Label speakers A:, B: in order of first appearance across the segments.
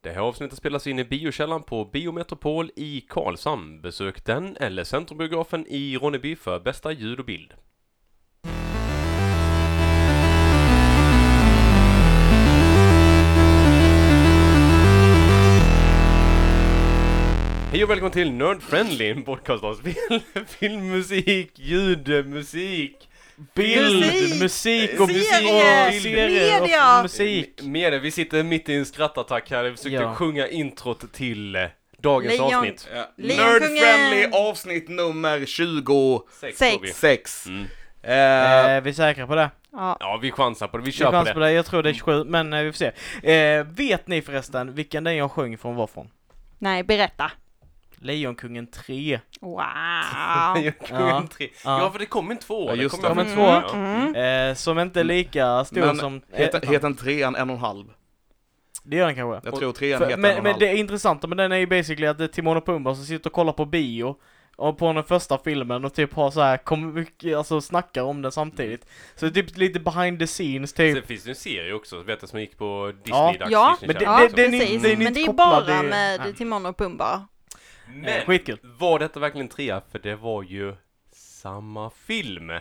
A: Det här avsnittet spelas in i biokällan på Biometropol i Karlshamn. Besök den eller Centrumbiografen i Ronneby för bästa ljud och bild. Hej och välkommen till Nerd Friendly, en podcast om spel, filmmusik, ljud, musik, bild,
B: Musik!
A: musik och musik
B: Serier!
A: och bild.
B: serier och
C: media!
B: musik.
A: M- Mer det, vi sitter mitt i en skrattattack här, vi försökte
B: Ja.
A: sjunga introt till eh, dagens
C: Lejon.
A: avsnitt.
D: Ja.
C: Lejonkungen!
D: Nerd-friendly avsnitt nummer 26.
A: Sex.
C: Sex.
A: tror vi.
D: Eh,
B: Eh, vi är säkra på det.
C: Ja.
A: Ja, vi chansar på det, vi
B: Vi
A: kör på
B: chansar
A: det.
B: på det. Jag tror det är 27, men eh, vi får se. Eh, vet ni förresten vilken den jag sjöng från var från?
C: Nej, berätta.
B: Lejonkungen 3.
C: Wow.
A: Ja.
B: Ja. Ja.
A: ja, för det kom en två.
D: Ja, just
A: kom
D: det.
A: jag
B: Kom en
A: fram
B: två.
A: till. Ja.
C: Mm.
B: Eh, som inte är lika stor
D: Men
B: som... Eh,
D: heter, heter den trean en och en halv?
B: Det gör den kanske.
D: Jag
A: Och-
D: tror trean
B: För,
D: heter en och
B: men,
D: en
B: men
D: halv.
B: det är intressanta med den är ju basically att det är Timon och Pumba som sitter och kollar på bio och på den första filmen och typ har så här, kom, alltså snackar om den samtidigt. Så det är typ lite behind the scenes typ.
A: Sen finns det en serie också, vet du, som gick på
B: Ja.
A: Disney-dags.
C: Ja,
A: Disney
C: Alltså,
B: men det-
A: Channel,
C: Ja,
B: det- det är ni-
C: precis.
B: det är ni
C: Men
B: inte
C: det är
B: kopplade-
C: bara
B: Nej.
C: med Timon och Pumba.
A: liksom.
B: Eh,
A: Men,
B: Skitkul.
A: var detta verkligen trea? För det var ju samma film. Ja,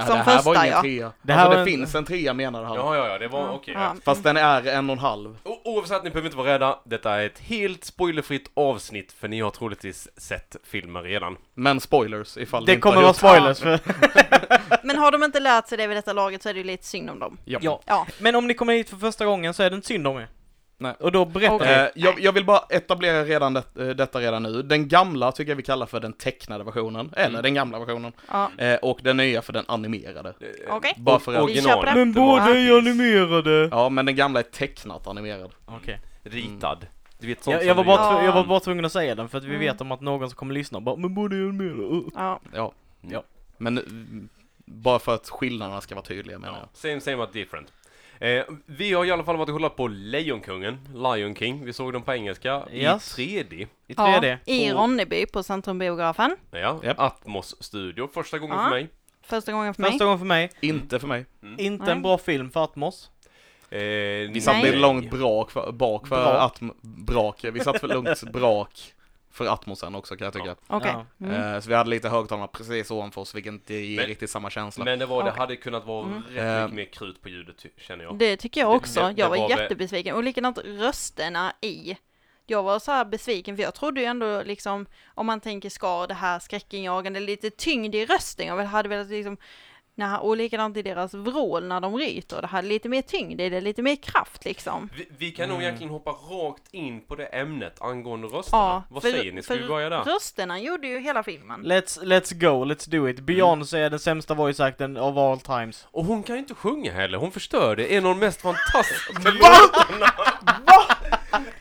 D: det,
C: som
D: det här var
C: första,
D: ingen
C: ja.
D: trea.
B: Det
D: Det,
B: här
D: alltså,
B: var
D: det
B: en-
D: finns en trea menar han.
A: ja, ja, det var okej. ja.
C: Ja.
D: Fast den är en och en halv.
A: O- Oavsett, ni behöver inte vara rädda. Detta är ett helt spoilerfritt avsnitt, för ni har troligtvis sett filmen redan.
D: Men spoilers ifall
B: Det
D: ni inte
B: kommer
D: har
B: vara
D: gjort
B: spoilers för
C: Mm. Men har de inte lärt sig det vid detta laget så är det ju lite synd om dem.
D: Ja.
B: Ja.
C: Ja.
B: Men om ni kommer hit för första gången så är det inte synd om er.
D: Nej.
B: Och då berättar
C: Och-
B: ni.
D: Eh, jag, jag vill bara etablera redan det, eh, detta redan nu. Den gamla tycker jag vi kallar för den tecknade versionen, eller den gamla versionen.
C: ja.
D: Eh, och den nya för den animerade.
B: Eh,
C: Okej.
D: Bara för att...
C: Vi köper det.
B: Men
A: Det var-
B: båda är animerade!
D: Ja, men den gamla är tecknat animerad.
B: Okej.
A: Ritad. Du vet, sånt
B: Jag,
A: som
B: jag, var
A: vi-
B: bara
C: Ja.
B: tv- jag var bara tvungen att säga den för att vi
C: Mm.
B: vet om att någon som kommer lyssna bara Men båda är animerade. Uh.
C: Ja.
D: Ja.
A: Ja.
D: Men mm, bara för att skillnaderna ska vara tydliga menar jag.
A: Same same but different. Eh, vi har i alla fall varit och kollat på Lejonkungen, Lion King. Vi såg den på engelska
B: Yes.
A: i 3D.
B: I 3D.
C: ja. I Ronneby på Centrumbiografen.
A: Ja,
D: Japp.
A: Atmos Studio, första gången
C: Ja.
A: för mig.
C: Första gången för mig.
B: Första gången för mig.
D: Inte för mig.
B: Inte
C: Nej.
B: en bra film för Atmos.
A: Eh,
D: Vi
A: nej.
D: satt väl långt brak för, bak för
B: Brak.
D: Atm- brak. Vi satt för långt brak för atmosen också kan jag tycka.
C: Okej.
B: Ja.
C: Mm.
D: Eh, så vi hade lite högtalarna precis ovanför oss vilket inte ger
A: Men-
D: riktigt samma känsla.
A: Men det var, det
C: Okej.
A: hade kunnat vara
C: Mm.
B: Eh.
A: rätt mycket mer krut på ljudet, ty- känner jag.
C: Det tycker jag
A: Det-
C: också.
A: det- det
C: jag var,
A: var väl-
C: jättebesviken. Och likadant rösterna i. Jag var så här besviken för jag trodde ju ändå liksom om man tänker ska det här skräckinjagande lite tyngd i rösten. Jag väl- hade velat liksom när, och likadant i deras vrål när de ryter. Det här lite mer tyngd i det, lite mer kraft liksom.
A: Vi, vi kan
B: Mm.
A: nog egentligen hoppa rakt in på det ämnet angående rösterna.
C: Ja,
A: Vad
C: för-
A: säger ni? Ska
C: för
A: vi börja där?
C: Rösterna gjorde ju hela filmen.
B: Let's, let's go, let's do it. Beyoncé är den sämsta voice acten of all times.
A: Och hon kan ju inte sjunga heller, hon förstör det. En av de mest fantastiska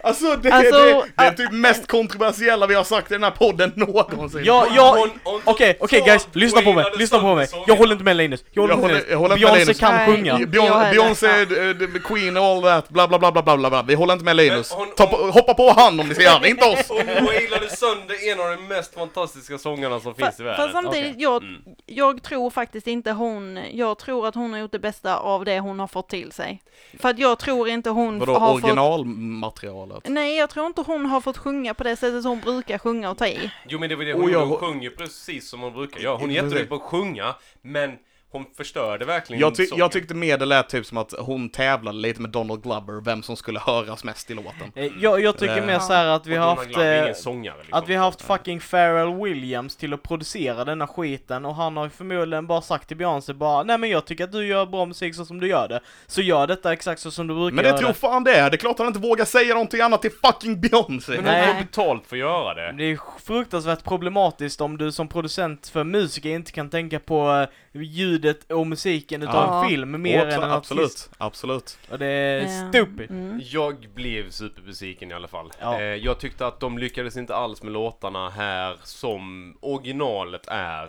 D: Alltså, det,
C: Alltså,
D: det, det är
C: äh,
D: typ mest kontroversiella vi har sagt i den här podden någonsin.
B: Ja, jag...
A: Hon- hon-
B: Okej, okej guys,
A: så
B: lyssna på mig,
A: wailade
B: lyssna på mig.
A: sönder
B: Jag
A: sången.
B: håller inte med Linus. Jag håller
D: Jag
B: inte
D: håller- jag håller
B: med
D: inte med
B: Beyoncé
D: Linus.
B: kan
C: Nej.
B: sjunga.
C: Jag
D: Beyon-
C: heller.
D: Beyoncé, eh, the Queen och all that, bla bla bla bla bla bla. Vi håller inte med Linus.
A: Men hon-
D: Ta på, hoppa på han om ni ser han, inte oss!
A: Hon wailade sönder en av de mest fantastiska sångarna som finns i
C: Fa- Fast
A: världen. Mm.
C: samtidigt,
B: Okej.
C: jag, jag tror faktiskt inte hon, jag tror att hon har gjort det bästa av det hon har fått till sig. För att jag tror inte hon
D: Vadå,
C: har fått
D: originalmaterialet?
C: Nej, jag tror inte hon har fått sjunga på det sättet som hon brukar sjunga och ta i.
A: Jo men det var det, hon,
D: Och jag-
A: hon sjöng ju precis som hon brukar göra. Hon är jätteduktig på att sjunga, men hon förstörde verkligen
D: Jag, ty-
A: sången.
D: jag tyckte mer det lät typ som att hon tävlade lite med Donald Glover, vem som skulle höras mest i låten.
B: Eh, Jag, jag tycker mer så här att vi
A: Och
B: har
A: Donald
B: haft...
A: Glover är ingen
B: eh,
A: sångare, liksom.
B: Att vi har haft fucking Pharrell Williams till att producera denna skiten och han har ju förmodligen bara sagt till Beyoncé bara Nej men jag tycker att du gör bra musik så som du gör det Så gör detta exakt så som du brukar
D: Men det
B: göra
D: tror fan det är, det är klart han inte vågar säga någonting annat till fucking Beyoncé!
A: Men hon får
B: Nej.
A: betalt för att göra det.
B: det är fruktansvärt problematiskt om du som producent för musiker inte kan tänka på eh, ljudet och musiken utav
C: Ja.
B: en film mer
D: Åh,
B: än en artist.
D: absolut, absolut.
B: Och det är
C: Eh,
B: stupid.
C: Mm.
A: Jag blev superbesviken i alla fall.
B: Ja.
A: Eh, jag tyckte att de lyckades inte alls med låtarna här som originalet är.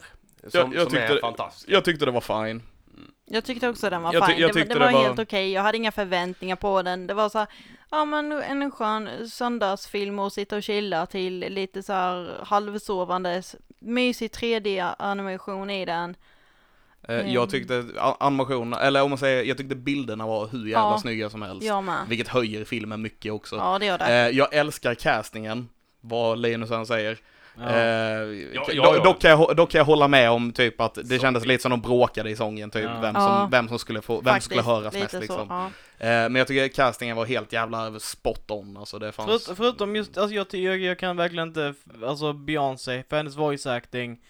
A: Som,
D: Jag- jag
A: som är
D: tyckte-
A: fantastiskt.
D: Jag tyckte det var fine.
C: Jag tyckte också den var
D: Jag ty-
C: fin.
D: jag
C: det, var-
D: tyckte
C: det var
D: det var-
C: helt okej. Jag hade inga förväntningar på den. Det var så här, ja men en skön söndagsfilm och sitta och chilla till lite så här halvsovandes, mysig 3D-animation i den.
D: Eh,
C: Mm.
D: Jag tyckte a- animationerna, eller om man säger, jag tyckte bilderna var hur jävla
C: Ja.
D: snygga som helst.
C: Jag med.
D: Vilket höjer filmen mycket också.
C: Ja, det gör det.
D: Eh, jag älskar castingen, vad Linus än säger.
B: Ja.
D: Eh,
A: Ja,
D: do-
A: ja, ja.
D: Dock, kan jag, hå- dock kan jag hålla med om typ att det
A: Som-
D: kändes lite som de bråkade i sången, typ
B: Ja.
D: vem, som,
C: Ja.
D: vem som skulle, få, vem som
C: Faktiskt,
D: skulle höras
C: lite
D: mest
C: så,
D: liksom.
C: ja.
D: Eh, men jag tycker castingen var helt jävla spot on, alltså det fanns...
B: Förut, förutom just, alltså jag, ty- jag, jag kan verkligen inte, f- alltså Beyoncé, för hennes voice acting,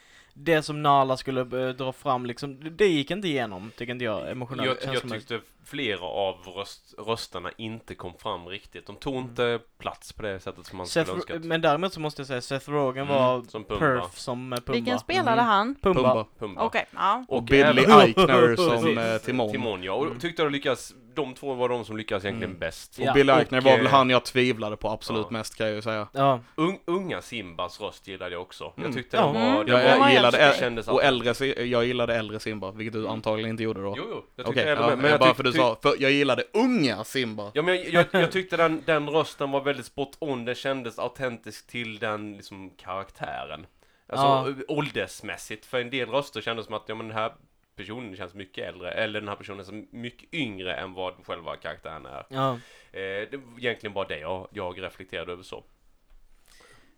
B: det som Nala skulle eh, dra fram liksom, det gick inte igenom, tycker inte jag, emotionellt.
A: Jag, jag
B: känslomässigt.
A: tyckte flera av röst, rösterna inte kom fram riktigt. De tog inte
D: Mm.
A: plats på det sättet som man
B: Seth,
A: skulle önskat.
B: men däremot så måste jag säga Seth Rogen
D: Mm,
B: var
A: Som Pumba.
B: perf som eh, Pumba.
C: Vilken spelade
D: Mm.
C: han?
B: Pumba.
D: Pumba.
A: Pumba.
C: Okej, ja.
D: Och
A: även-
D: Billy Eichner som eh, Timon.
A: Timon ja, och
B: Mm.
A: tyckte jag lyckas, de två var de som lyckades egentligen
D: Mm.
A: bäst.
D: Och
B: Ja,
D: Billy Eichner var
A: eh,
D: väl han jag tvivlade på absolut
A: ja.
D: mest kan jag ju säga.
B: Ja,
A: Un, unga Simbas röst gillade jag också.
D: Mm.
A: Jag tyckte
B: Ja.
A: den var, den
C: Mm.
D: Jag,
A: var,
C: den var
D: jag, gillade,
A: det
C: helt okej.
D: ä-
A: kändes
D: och
A: att-
D: äldre, Si- jag gillade äldre Simba, vilket du antagligen inte gjorde då.
A: Jo, jo, jag tyckte
D: Okej,
A: äldre
D: ja,
A: med, men jag
D: bara
A: tyck-
D: för du
A: tyck-
D: sa, för jag gillade unga Simba.
A: Ja, men jag, jag, jag tyckte den, den rösten var väldigt spot on, den kändes autentisk till den liksom karaktären. Alltså åldersmässigt, för en del röster kändes som att ja, men den här personen känns mycket äldre, eller den här personen är mycket yngre än vad själva karaktären är.
B: ja.
A: Eh, det var egentligen bara det jag, jag reflekterade över så.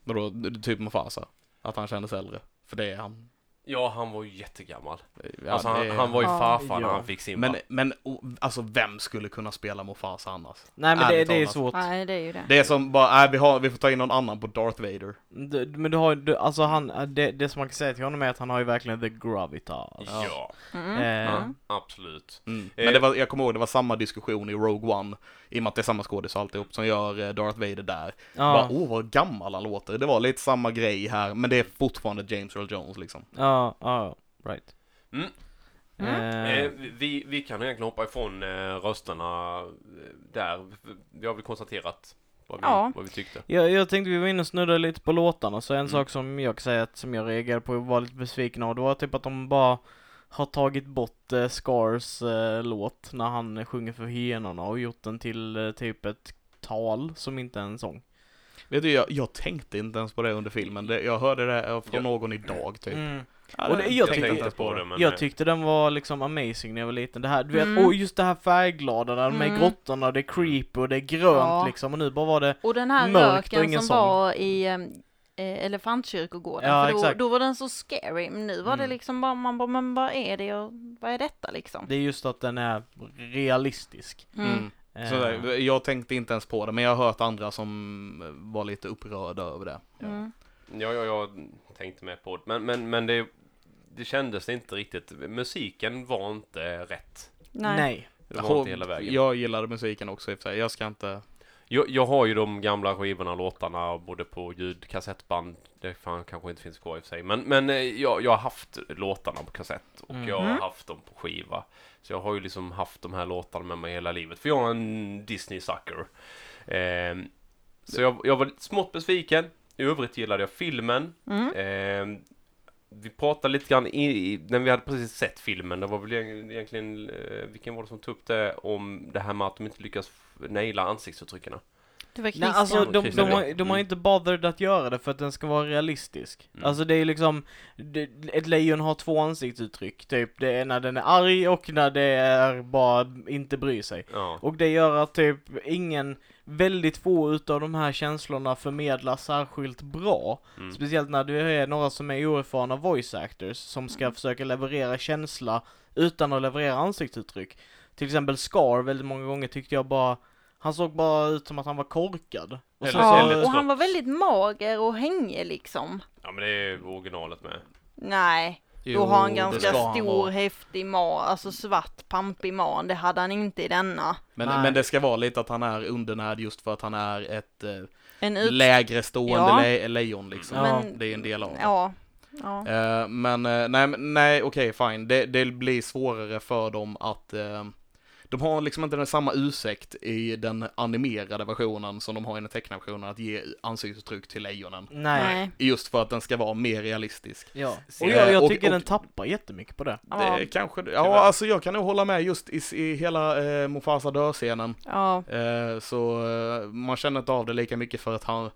D: Vadå, d- typ Mufasa? Att han kändes äldre? För det är han.
A: Ja, han var ju jättegammal.
D: Ja,
A: alltså, han,
D: det är-
A: han var ju
C: Ja.
A: farfar när
B: Ja.
A: han fick Simba.
D: Men, men o- alltså vem skulle kunna spela Mufasa annars?
B: Nej men det,
D: Ärligt
B: det är
D: talat.
B: svårt.
C: Nej, det är ju det.
D: Det är som bara, nej vi, har, vi får ta in någon annan på Darth Vader.
B: Du, men du har ju- du, alltså han, eh, det, det som man kan säga till honom är att han har ju verkligen the gravitas.
A: ja,
C: Mm.
B: Eh,
A: ja, absolut.
D: Mm.
A: Eh.
D: Men det var, jag kommer ihåg, det var samma diskussion i Rogue One, i och med att det är samma skådis och alltihop som gör eh, Darth Vader där. Bara,
B: Ja,
D: åh vad gammal han låter. Det var lite samma grej här, men det är fortfarande James Earl Jones liksom.
B: ja, ja, right.
A: Mm.
B: Eh,
A: Eh, vi, vi kan egentligen hoppa ifrån eh, rösterna eh, där. Vi har väl konstaterat vad vi,
C: Ja.
A: vad vi tyckte.
B: Jag, jag tänkte vi var inne och snuddade lite på låtarna, så en
A: Mm.
B: sak som jag kan säga att, som jag reagerade på och var lite besviken av, det var typ att de bara har tagit bort eh, Scars eh, låt när han sjunger för hyenorna och gjort den till eh, typ ett tal som inte är en sång.
D: Vet du, jag, jag tänkte inte ens på det under filmen. Det, jag hörde det här från
A: Ja.
D: någon idag typ.
C: Mm.
D: Ja,
B: Mm. Och det- jag tänkte
D: inte
B: inte
D: ens på det.
A: men... eh,
B: Jag tyckte den var liksom amazing när jag var liten. Det här, du vet,
C: Mm.
B: och just det här färgglada, där med
C: Mm.
B: grottorna, det är creepy och det är grönt
C: Ja.
B: liksom, och nu bara var det
C: Och den här
B: Mörkt och
C: röken
B: ingen
C: som
B: sång.
C: var i em, eh, Elefantkyrkogården,
B: Ja,
C: för då,
B: exakt.
C: då var den så scary, men nu var det
D: Mm.
C: liksom bara, man bara, men vad är det och vad är detta liksom?
B: Det är just att den är realistisk. Eh,
C: Mm.
D: Mm. Så där, jag tänkte inte ens på det, men jag har hört andra som var lite upprörda över det.
C: Mm.
A: Ja, ja, jag tänkte med på det. Men, men, men det, det kändes inte riktigt. Musiken var inte rätt.
C: Nej.
B: nej.
A: Det var
D: Och
A: inte hela vägen. Jag...
D: Jag gillade musiken också i och för sig. Jag ska inte...
A: Jag, har ju de gamla skivorna, låtarna, både på ljud, kassettband. Det fan, kanske inte finns kvar i och för sig. Men, men eh, jag, jag har haft låtarna på kassett och
B: Mm.
A: jag har
C: Mm.
A: haft dem på skiva. Så jag har ju liksom haft de här låtarna med mig hela livet. För jag är en Disney-sucker. Ehm, så jag, jag var smått besviken. I övrigt gillade jag filmen.
C: Mm.
A: Eh, vi pratade lite grann i, i, när vi hade precis sett filmen, det var väl eg- egentligen, eh, vilken var det som tog upp det om det här med att de inte lyckas f- naila ansiktsuttrycken?
C: Det var
B: Nej,
C: Christian.
B: alltså de, de,
A: Christian, ja.
B: har, de har
A: Mm.
B: inte bothered att göra det för att den ska vara realistisk.
A: Mm.
B: Alltså det är liksom, det, ett lejon har två ansiktsuttryck, typ. Det är när den är arg och när det är bara inte bry sig.
A: Ja.
B: Och det gör att typ ingen, väldigt få utav de här känslorna förmedlas särskilt bra.
A: Mm.
B: Speciellt när du är några som är oerfarna voice actors som ska
D: Mm.
B: försöka leverera känsla utan att leverera ansiktsuttryck. Till exempel Scar väldigt många gånger tyckte jag bara, han såg bara ut som att han var korkad. Och sen
A: Eller-
B: så,
A: eller-
C: ja, och han var väldigt mager och hängig liksom.
A: ja, men det är originalet med.
C: Nej, då har han ganska stor, häftig ma, alltså svart, pampig man. Det hade han inte i denna.
D: Men,
B: Nej.
D: men det ska vara lite att han är undernärd just för att han är ett eh,
C: En ut...
D: lägre stående
C: Ja.
D: le- lejon liksom.
B: Ja.
C: men-
D: Det är en del av det.
C: Ja. ja.
D: Eh, men eh, nej, men- nej okej fine. Det, det blir svårare för dem att eh, de har liksom inte den samma ursäkt i den animerade versionen som de har i den tecknade versionen att ge ansiktsuttryck till lejonen.
B: nej.
D: Just för att den ska vara mer realistisk.
B: Ja.
A: Se-
B: Och jag, jag
D: och-
B: tycker
D: och-
B: den tappar jättemycket på det.
C: Ja.
D: Det kanske,
A: Tyvärr.
D: ja alltså jag kan nog hålla med just i, i hela eh, Mufasa dör-scenen.
C: Ja.
D: Eh, så eh, man känner inte av det lika mycket för att han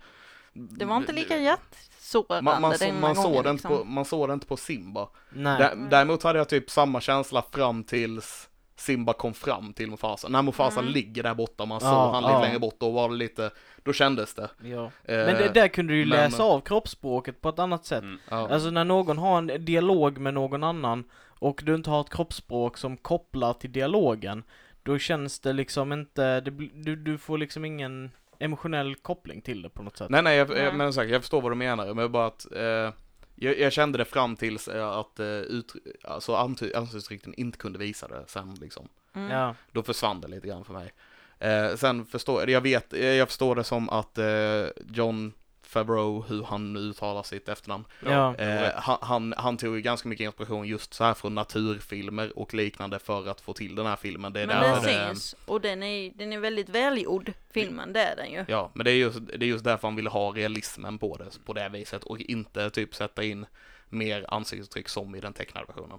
C: Det var inte lika hjärtsårande
D: Man, man, så-
C: den
D: man, såg
C: gången,
D: det inte
C: liksom.
D: på, man såg det inte på Simba.
B: Nej.
D: Dä, däremot hade jag typ samma känsla fram tills Simba kom fram till Mufasa. När Mufasa
C: Mm.
D: ligger där borta, man
B: Ja,
D: såg han
B: ja.
D: lite längre bort, då var det lite, då kändes det.
B: Ja.
D: Eh,
B: Men det, där kunde du ju
D: men-
B: läsa av kroppsspråket på ett annat sätt.
A: Mm.
D: ja.
B: Alltså när någon har en dialog med någon annan och du inte har ett kroppsspråk som kopplar till dialogen, då känns det liksom inte, det, bl- du, du får liksom ingen emotionell koppling till det på något sätt.
D: Nej, nej, jag,
C: Nej.
D: Jag, men sagt, jag förstår vad du menar, men bara att eh, jag, jag kände det fram tills eh, att eh, ut, alltså, anty- ansiktsuttrycken inte kunde visa det sen liksom.
C: Mm.
B: Ja.
D: Då försvann det lite grann för mig. Eh, sen förstår jag, jag vet, eh, jag förstår det som att eh, John Favreau, hur han nu uttalar sitt efternamn,
B: Ja.
D: eh, han, han, han tog ju ganska mycket inspiration just så här från naturfilmer och liknande för att få till den här filmen. Det är
C: Men
D: därför
C: den
B: där
D: det,
C: syns, och den är, den är väldigt välgjord, filmen, det är den ju.
D: Ja, men det är, just, det är just därför han ville ha realismen på det, på det viset och inte typ sätta in mer ansiktsuttryck som i den tecknade versionen.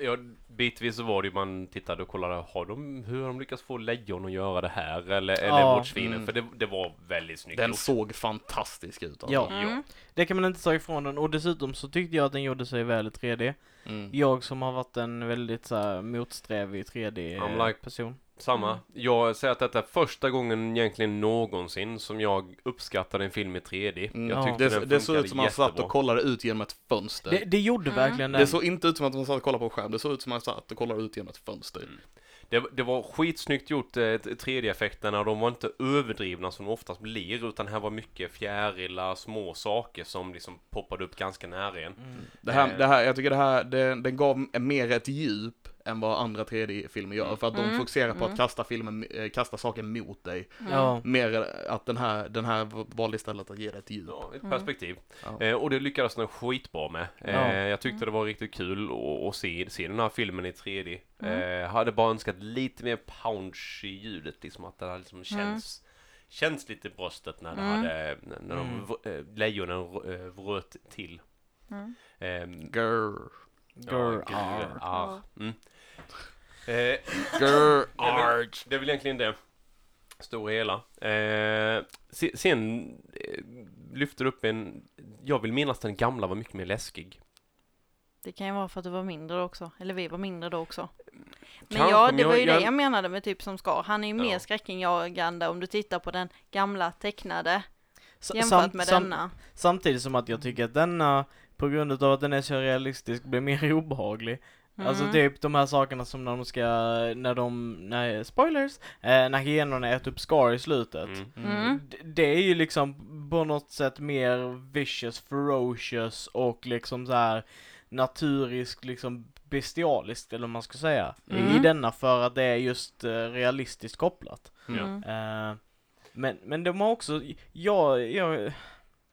A: Ja, bitvis så var det ju man tittade och kollade, har de, hur har de lyckats få lejon att göra det här? Eller, eller
B: Ja.
A: vårtsvinen?
D: Mm.
A: För det, det var väldigt snyggt
D: Den
A: gjort.
D: såg fantastisk ut alltså.
B: Ja.
C: Mm.
B: Det kan man inte ta ifrån den och dessutom så tyckte jag att den gjorde sig väl i 3D.
D: Mm.
B: Jag som har varit en väldigt så här, motsträvig
A: I'm like-
B: 3D-person.
A: Samma.
C: Mm.
A: Jag säger att detta är första gången egentligen någonsin som jag uppskattade en film i 3D.
D: Mm.
A: Jag
B: Ja.
A: tyckte
D: Det,
A: den
D: det såg ut som att han satt
A: jättebra.
D: och kollade ut genom ett fönster.
B: Det,
D: Det,
B: det gjorde
C: Mm.
B: verkligen den.
D: såg inte ut som att han satt och kollade på en skärm, det såg ut som att han satt och kollade ut genom ett fönster.
A: Mm. Det, det var skitsnyggt gjort, eh, 3D-effekterna. De var inte överdrivna som de oftast blir, utan här var mycket fjärilar, små saker som liksom poppade upp ganska nära en.
B: Mm.
D: Det här,
A: Eh.
D: det här, jag tycker det här, det, den gav mer ett djup än vad andra 3D-filmer gör, för att de
C: Mm.
D: fokuserar på
C: Mm.
D: att kasta, filmen, eh, kasta saker mot dig.
C: Mm.
B: Ja.
D: Mer att den här, den här valde istället att ge dig ett djup.
A: Ja, ett
C: Mm.
A: perspektiv.
D: Ja.
A: Eh, och det lyckades den skitbra med. Eh,
B: Ja.
A: Jag tyckte det var riktigt kul att- att se, se den här filmen i 3D. Eh, hade bara önskat lite mer punch i ljudet, liksom att det hade liksom känns, känns lite i bröstet när, det
C: Mm.
A: hade, när de,
B: Mm.
A: vr- eh, lejonen vr- eh, vröt till.
C: Mm.
A: Ehm,
D: Grr.
B: Grr,
A: ja, grr,
B: arr.
A: arr. Mm. Eh,
D: Grr,
A: Arch. Det är väl egentligen det. Stora hela. Eh, se- sen eh, lyfter upp en... Jag vill minnas den gamla var mycket mer läskig.
C: Det kan ju vara för att du var mindre också, eller vi var mindre då också. Men
A: Kanske,
C: ja,
A: men
C: det var
A: jag-
C: ju
A: jag-
C: det jag menade med typ som ska. Han är ju mer
A: Ja.
C: skräckinjagande om du tittar på den gamla tecknade
B: S-
C: jämfört
B: samt-
C: med
B: samt-
C: denna.
B: Samtidigt som att jag tycker att denna, på grund av att den är så realistisk, blir mer obehaglig. Alltså
C: Mm.
B: typ de här sakerna som när de ska, när de, nej, spoilers, eh, när hyenorna äter upp Scar i slutet.
A: Mm.
C: Mm.
B: D- Det är ju liksom på något sätt mer vicious, ferocious och liksom så här naturisk, liksom bestialiskt eller vad man ska säga. I
C: Mm.
B: denna för att det är just eh, realistiskt kopplat.
A: Ja.
C: Mm.
B: Eh, men, men de har också, ja, ja,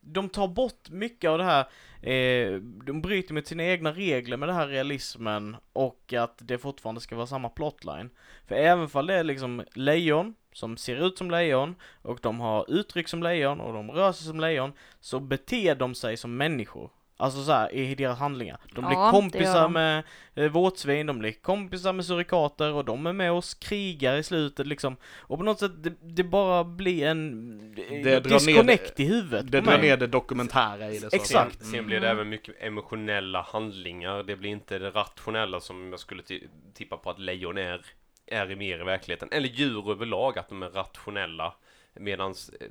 B: de tar bort mycket av det här, eh, de bryter med sina egna regler med det här realismen och att det fortfarande ska vara samma plotline. För även fall det är liksom lejon, som ser ut som lejon, och de har uttryck som lejon, och de rör sig som lejon, så beter de sig som människor. Alltså så här, i deras handlingar. De blir
C: Ja, det gör
B: kompisar
C: de.
B: med eh, våtsvin, de blir kompisar med surikater och de är med oss krigar i slutet liksom. Och på något sätt, det, det bara blir en
D: Det drar
B: disconnect i huvudet
D: Det
B: på
D: drar
B: mig.
D: ner det dokumentära i det. så att
B: Exakt.
D: säga.
A: Sen, sen
D: Mm.
A: blir det
C: Mm.
A: även mycket emotionella handlingar. Det blir inte det rationella som jag skulle ti- tippa på att lejon är, är mer i verkligheten. Eller djur överlag, att de är rationella. Medans eh,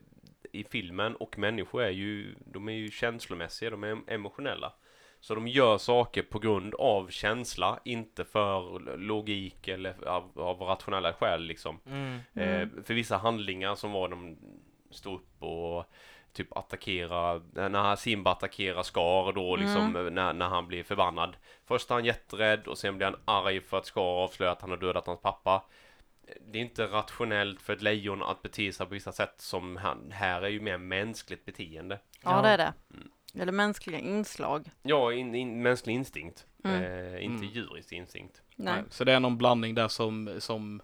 A: i filmen och människor är ju, de är ju känslomässiga, de är emotionella. Så de gör saker på grund av känsla, inte för logik eller av, av rationella skäl liksom.
B: Mm.
A: Eh, för vissa handlingar som var de stod upp och typ attackera, när Simba attackerar Scar då liksom
B: Mm.
A: eh, när, när han blir förbannad. Först är han jätterädd och sen blir han arg för att Scar avslöjar att han har dödat hans pappa. Det är inte rationellt för ett lejon att bete sig på vissa sätt som han, här är ju mer mänskligt beteende.
C: Ja, det är det.
D: Mm.
C: Eller mänskliga inslag.
A: Ja, in, in, mänsklig instinkt.
C: Mm.
A: Eh, inte
D: Mm.
A: djurisk instinkt.
C: Nej.
D: Så det är någon blandning där som, som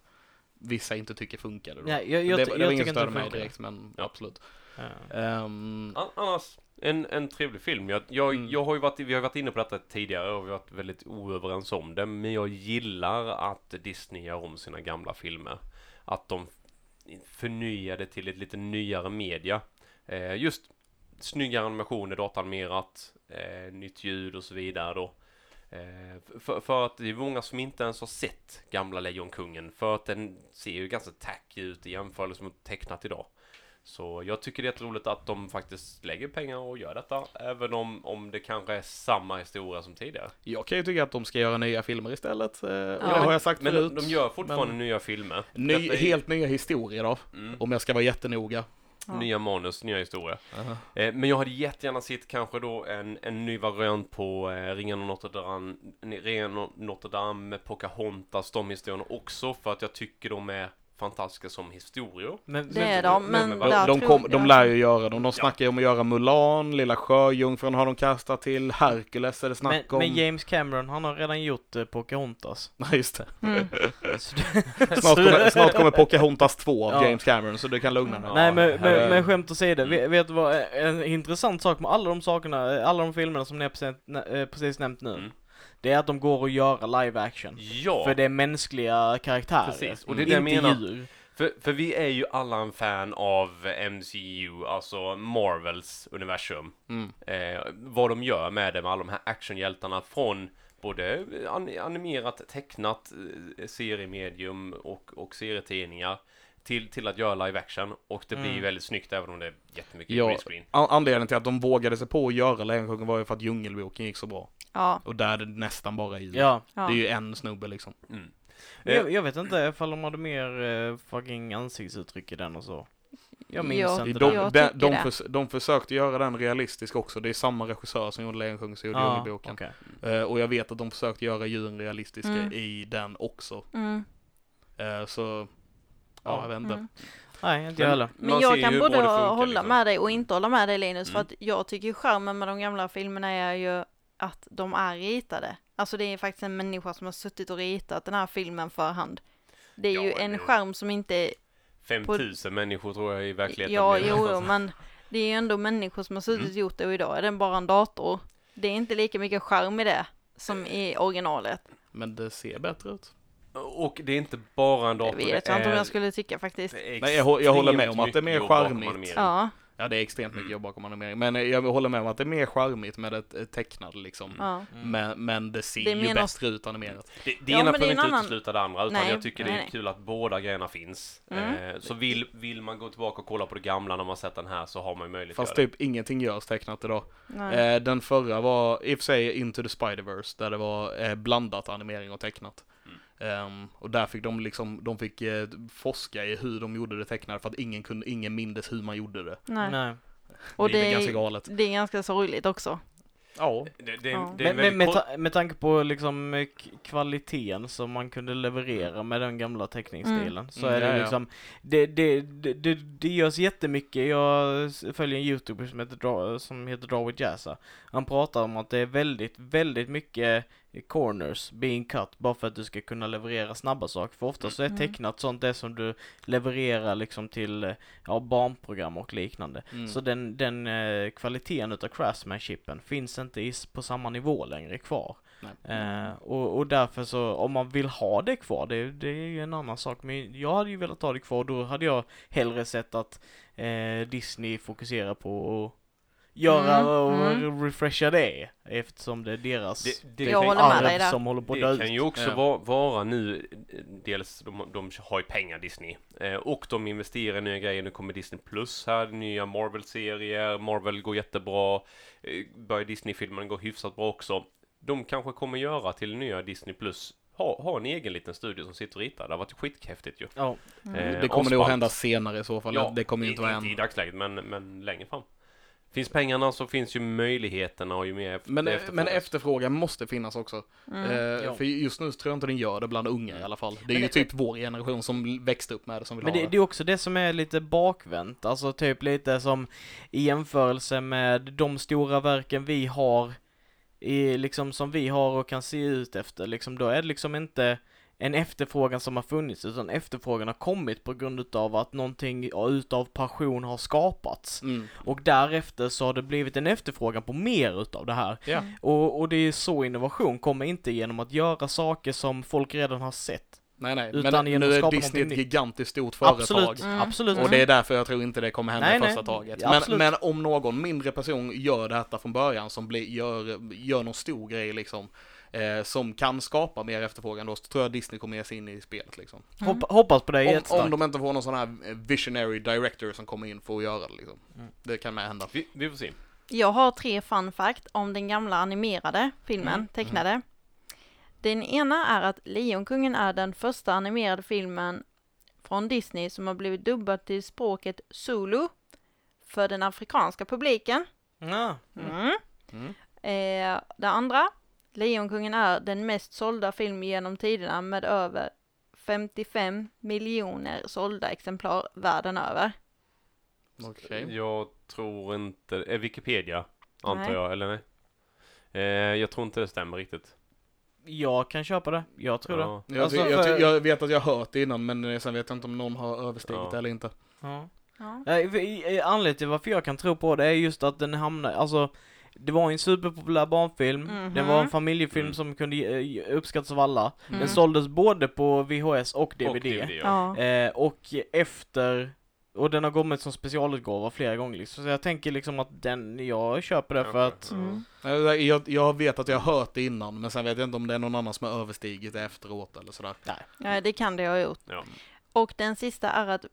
D: vissa inte tycker funkade. Då.
B: Nej, jag,
D: det,
B: jag,
D: det
B: jag,
D: var
B: tycker
D: ingen
B: inte
D: större
B: det
D: mig
B: funkar.
D: direkt, men
A: Ja.
D: absolut.
B: Ja.
D: Ehm,
A: An- Annars, en, en trevlig film. Jag, jag,
D: Mm.
A: jag har ju varit, vi har varit inne på detta tidigare och vi har varit väldigt oöverens om det. Men jag gillar att Disney gör om sina gamla filmer. Att de förnya det till ett lite nyare media. Eh, just snyggare animationer, datanimerat, eh, nytt ljud och så vidare då. Eh, för, för att det är många som inte ens har sett gamla Lejonkungen för att den ser ju ganska tacky ut i jämförelse med tecknat idag. Så jag tycker det är roligt att de faktiskt lägger pengar och gör detta även om, om det kanske är samma historia som tidigare.
D: Jag kan ju tycka att de ska göra nya filmer istället. eh, och Det
C: men-
D: har jag sagt
A: Men
D: förut.
A: de, de gör fortfarande nya filmer.
D: Ny,
A: Detta är-
D: Helt nya historier då.
A: Mm.
D: Om jag ska vara jättenoga.
C: Ja.
A: Nya manus, nya historia. Eh, men jag hade jättegärna sett kanske då en, en ny variant på eh, Ringen och Notre Dame, Ringen och Notre Dame, Pocahontas, de historierna också för att jag tycker de är fantastiska som historier.
B: Men,
C: Det
B: men-
C: är de, men,
A: men vad-
D: De,
C: där
D: de,
C: tror
D: kom,
C: jag-
D: de lär ju göra dem. De snackar ju om att göra Mulan, Lilla Sjöjungfrun har de kastat till, Hercules är det
B: men,
D: snack om.
B: men James Cameron, han har redan gjort eh, Pocahontas.
D: Nej just det.
C: Mm.
B: Så det-
D: Snart kommer, snart kommer Pocahontas 2 av
B: Ja.
D: James Cameron så du kan lugna dig.
B: Nej men,
A: herregud.
B: men, men skämt
D: Mm.
B: åsido, vet, vet du vad, eh, en intressant sak med alla de sakerna, eh, alla de filmerna som ni har precis, nä- eh, precis nämnt nu,
A: Mm.
B: det är att de går att göra live action.
A: Ja!
B: För det är mänskliga karaktärer. Mm.
A: Precis, och
D: det
A: är det jag
B: inte
A: menar.
B: djur.
A: För, för vi är ju alla en fan av MCU, alltså Marvels universum.
D: Mm.
A: Eh, vad de gör med det, med alla de här actionhjältarna från både an- animerat, tecknat, eh, seriemedium och, och serietidningar till, till att göra live action. Och det blir ju
B: Mm.
A: väldigt snyggt även om det är jättemycket
D: Ja.
A: green screen.
D: An- Anledningen till att de vågade sig på att göra Lejonkungen var ju för att Djungelboken gick så bra.
C: Ja,
D: Och där är det nästan bara djur.
B: Ja.
C: ja.
D: Det är ju en snubbe liksom.
A: Mm.
B: Men
A: Eh,
B: Jag, jag vet inte ifall de hade mer eh, fucking ansiktsuttryck i den och så. Jag minns
C: Ja.
B: inte
D: De,
B: det.
D: de,
C: Jag
D: de,
C: tycker
D: de,
C: det.
D: förs- de försökte göra den realistisk också. Det är samma regissör som gjorde Lejonkungen som gjorde
B: Ja,
D: Djungelboken.
B: okej.
D: Eh, och jag vet att de försökte göra djuren realistiska
C: Mm.
D: i den också.
C: Mm.
D: Eh, så, ja,
B: Ja.
D: jag vet inte.
C: Mm.
B: Nej, inte jag heller.
A: man
C: Men
A: ser
C: jag
A: ju
C: kan
A: hur bra
C: både
A: det funkar,
C: hålla
A: liksom.
C: med dig och inte hålla med dig Linus,
A: Mm.
C: för att jag tycker skärmen med de gamla filmerna är ju att de är ritade. Alltså det är faktiskt en människa som har suttit och ritat den här filmen för hand. Det är
A: Ja,
C: ju en
A: det-
C: skärm som inte,
A: 5000 människor tror jag i verkligheten.
C: ja
A: blir
C: jo,
A: någonstans.
C: jo men det är ju ändå människor som har suttit och
A: Mm.
C: gjort det och idag är den bara en dator. Det är inte lika mycket skärm i det som i originalet.
D: Men det ser bättre ut.
A: Och det är inte bara en dator.
C: Jag vet
A: det
C: inte om
A: är-
C: jag skulle tycka faktiskt.
A: det är
D: Nej, jag hå- jag håller med om
A: extremt
D: att det är mer
A: mycket jobb bakom
D: charmigt.
A: animeringen.
C: Ja,
D: Ja, det är extremt mycket
A: Mm.
D: jobb bakom animering. Men eh, jag håller med om att det är mer charmigt med ett ett tecknat liksom.
A: Mm.
C: ja.
D: Men, men det ser
C: Det är
D: ju
C: mer något-
D: bättre ut animerat.
A: Det, det
C: Ja,
A: ena
C: men det är
A: behöver
C: en
A: inte
C: annan-
A: utesluta det andra, utan
C: Nej,
A: jag tycker det
C: nej,
A: är
C: nej.
A: kul att båda grejerna finns.
C: Mm.
A: Eh, så vill, vill man gå tillbaka och kolla på det gamla när man sett den här så har man ju möjlighet
D: Fast
A: att göra
D: typ ingenting görs tecknat idag.
C: Nej.
D: Eh, den förra var i och för sig Into the Spider-Verse där det var eh, blandat animering och tecknat.
A: Mm.
D: Ehm, och där fick de liksom, de fick eh, forska i hur de gjorde det tecknade för att ingen kunde, ingen mindes hur man gjorde det.
C: Nej.
B: Nej.
C: Och
D: det, är
C: det
D: ganska
C: är,
D: galet.
C: det är ganska sorgligt också.
D: Ja.
A: det. Det, det, är-
C: Ja.
A: det är en
B: typ- Men, men
A: väldigt
B: med,
A: kort...
B: ta- med tanke på liksom eh, k- kvaliteten som man kunde leverera med den gamla teckningsstilen så
D: Mm,
B: är det
D: ja, ja.
B: liksom det, det, det, det, det görs jättemycket. Jag s- följer en youtuber som heter, Dra- som heter Draw with Jazza. Han pratar om att det är väldigt, väldigt mycket corners being cut bara för att du ska kunna leverera snabba saker. För ofta så är
C: Mm.
B: tecknat sånt det som du levererar liksom till eh, ja, barnprogram och liknande.
D: Mm.
B: Så den, den eh, kvaliteten utav craftsmanshipen finns inte i, s- på samma nivå längre kvar.
D: Nej.
A: Mm.
B: Eh, och, och därför så, om man vill ha det kvar, det, det är ju en annan sak. Men jag hade ju velat ha det kvar och då hade jag hellre sett att eh, Disney fokuserar på att göra
C: Mm,
B: och
C: mm.
B: refresha det. Eftersom det är deras
A: Det,
C: Jag
A: kan-
C: håller med dig där.
B: som håller på att dö
A: Det kan
B: ut.
A: ju också
D: Ja.
A: vara, vara nu, eh, dels de, de har ju pengar Disney, eh, och de investerar i nya grejer, nu kommer Disney Plus här, nya Marvel-serier, Marvel går jättebra, eh, börjar Disney-filmerna gå hyfsat bra också. De kanske kommer göra till nya Disney Plus, ha, ha en egen liten studio som sitter och ritar, det har varit skithäftigt ju.
B: Ja,
A: Eh,
D: Mm. det kommer nog
A: avspalt.
D: att hända senare i så fall. det kommer ju inte
A: i-
D: vara
A: Inte i
D: än.
A: dagsläget, men, men längre fram. Finns pengarna så finns ju möjligheterna och ju mer eft-
D: Men,
A: efterfrågan.
D: men efterfrågan måste finnas också. Eh,
B: Ja.
D: För just nu tror jag inte den gör det bland unga i alla fall. Det är
B: Mm. Men
D: ju
B: det-
D: typ vår generation som växte upp med det som vill
B: Men
D: ha
B: det, det är också det som är lite bakvänt, alltså typ lite som i jämförelse med de stora verken vi har, i, liksom som vi har och kan se ut efter, liksom då är det liksom inte en efterfrågan som har funnits, utan efterfrågan har kommit på grund utav att någonting utav passion har skapats.
D: Mm.
B: Och därefter så har det blivit en efterfrågan på mer utav det här.
D: Ja.
B: Och, och det är så innovation kommer inte genom att göra saker som folk redan har sett.
D: Nej, nej.
B: Utan
D: men
B: genom
D: nu
B: att
D: är
B: skapa
D: Disney ett
B: någonting nytt.
D: gigantiskt stort företag.
B: Absolut,
C: Mm.
B: absolut.
D: Och det är därför jag tror inte det kommer hända
B: Nej,
D: i
B: nej.
D: första taget.
B: Ja,
D: Men,
B: absolut.
D: men om någon mindre person gör detta från början som blir, gör, gör någon stor grej liksom, eh, som kan skapa mer efterfrågan då, så tror jag Disney kommer ge sig in i spelet liksom.
C: Mm.
B: Hoppa, hoppas på det
D: Om, om
B: jättestarkt.
D: de inte får någon sån här eh, visionary director som kommer in för att göra det liksom.
B: Mm.
D: Det kan med hända.
A: Vi, vi får se.
C: Jag har tre fun fact om den gamla animerade filmen, tecknade. Den ena är att Lejonkungen är den första animerade filmen från Disney som har blivit dubbad till språket Zulu för den afrikanska publiken.
B: Ja.
C: Mm.
D: Mm.
C: Eh, det andra, Lejonkungen är den mest sålda film genom tiderna med över 55 miljoner sålda exemplar världen över.
D: Okej.
A: Jag tror inte... Är Wikipedia? Antar
C: Nej.
A: jag, eller nej? Eh, jag tror inte det stämmer riktigt.
B: Jag kan köpa det, jag tror det.
A: Ja.
D: Jag,
B: Alltså,
D: ty- jag,
B: för-
D: ty- jag vet att jag har hört det innan men eh, sen vet jag inte om någon har överstigit
A: Ja.
D: det eller inte.
B: Ja.
C: Ja.
B: Nej, för- i- i- Anledningen till varför jag kan tro på det är just att den hamnar, alltså det var en superpopulär barnfilm,
C: Mhm.
B: det var en familjefilm
A: Mm.
B: som kunde eh, uppskattas av alla.
C: Mm.
B: Den såldes både på VHS och DVD.
A: Och DVD ja.
C: Ja.
B: Eh, och efter, och den har kommit som specialutgåva flera gånger liksom. Så jag tänker liksom att den, jag köper det för
A: Okej.
B: att,
C: Mm.
D: Eh, Jag, jag vet att jag har hört det innan men sen vet jag inte om det är någon annan som har överstigit det efteråt eller sådär.
C: ja, det kan det ha gjort.
A: Ja.
C: Och den sista är att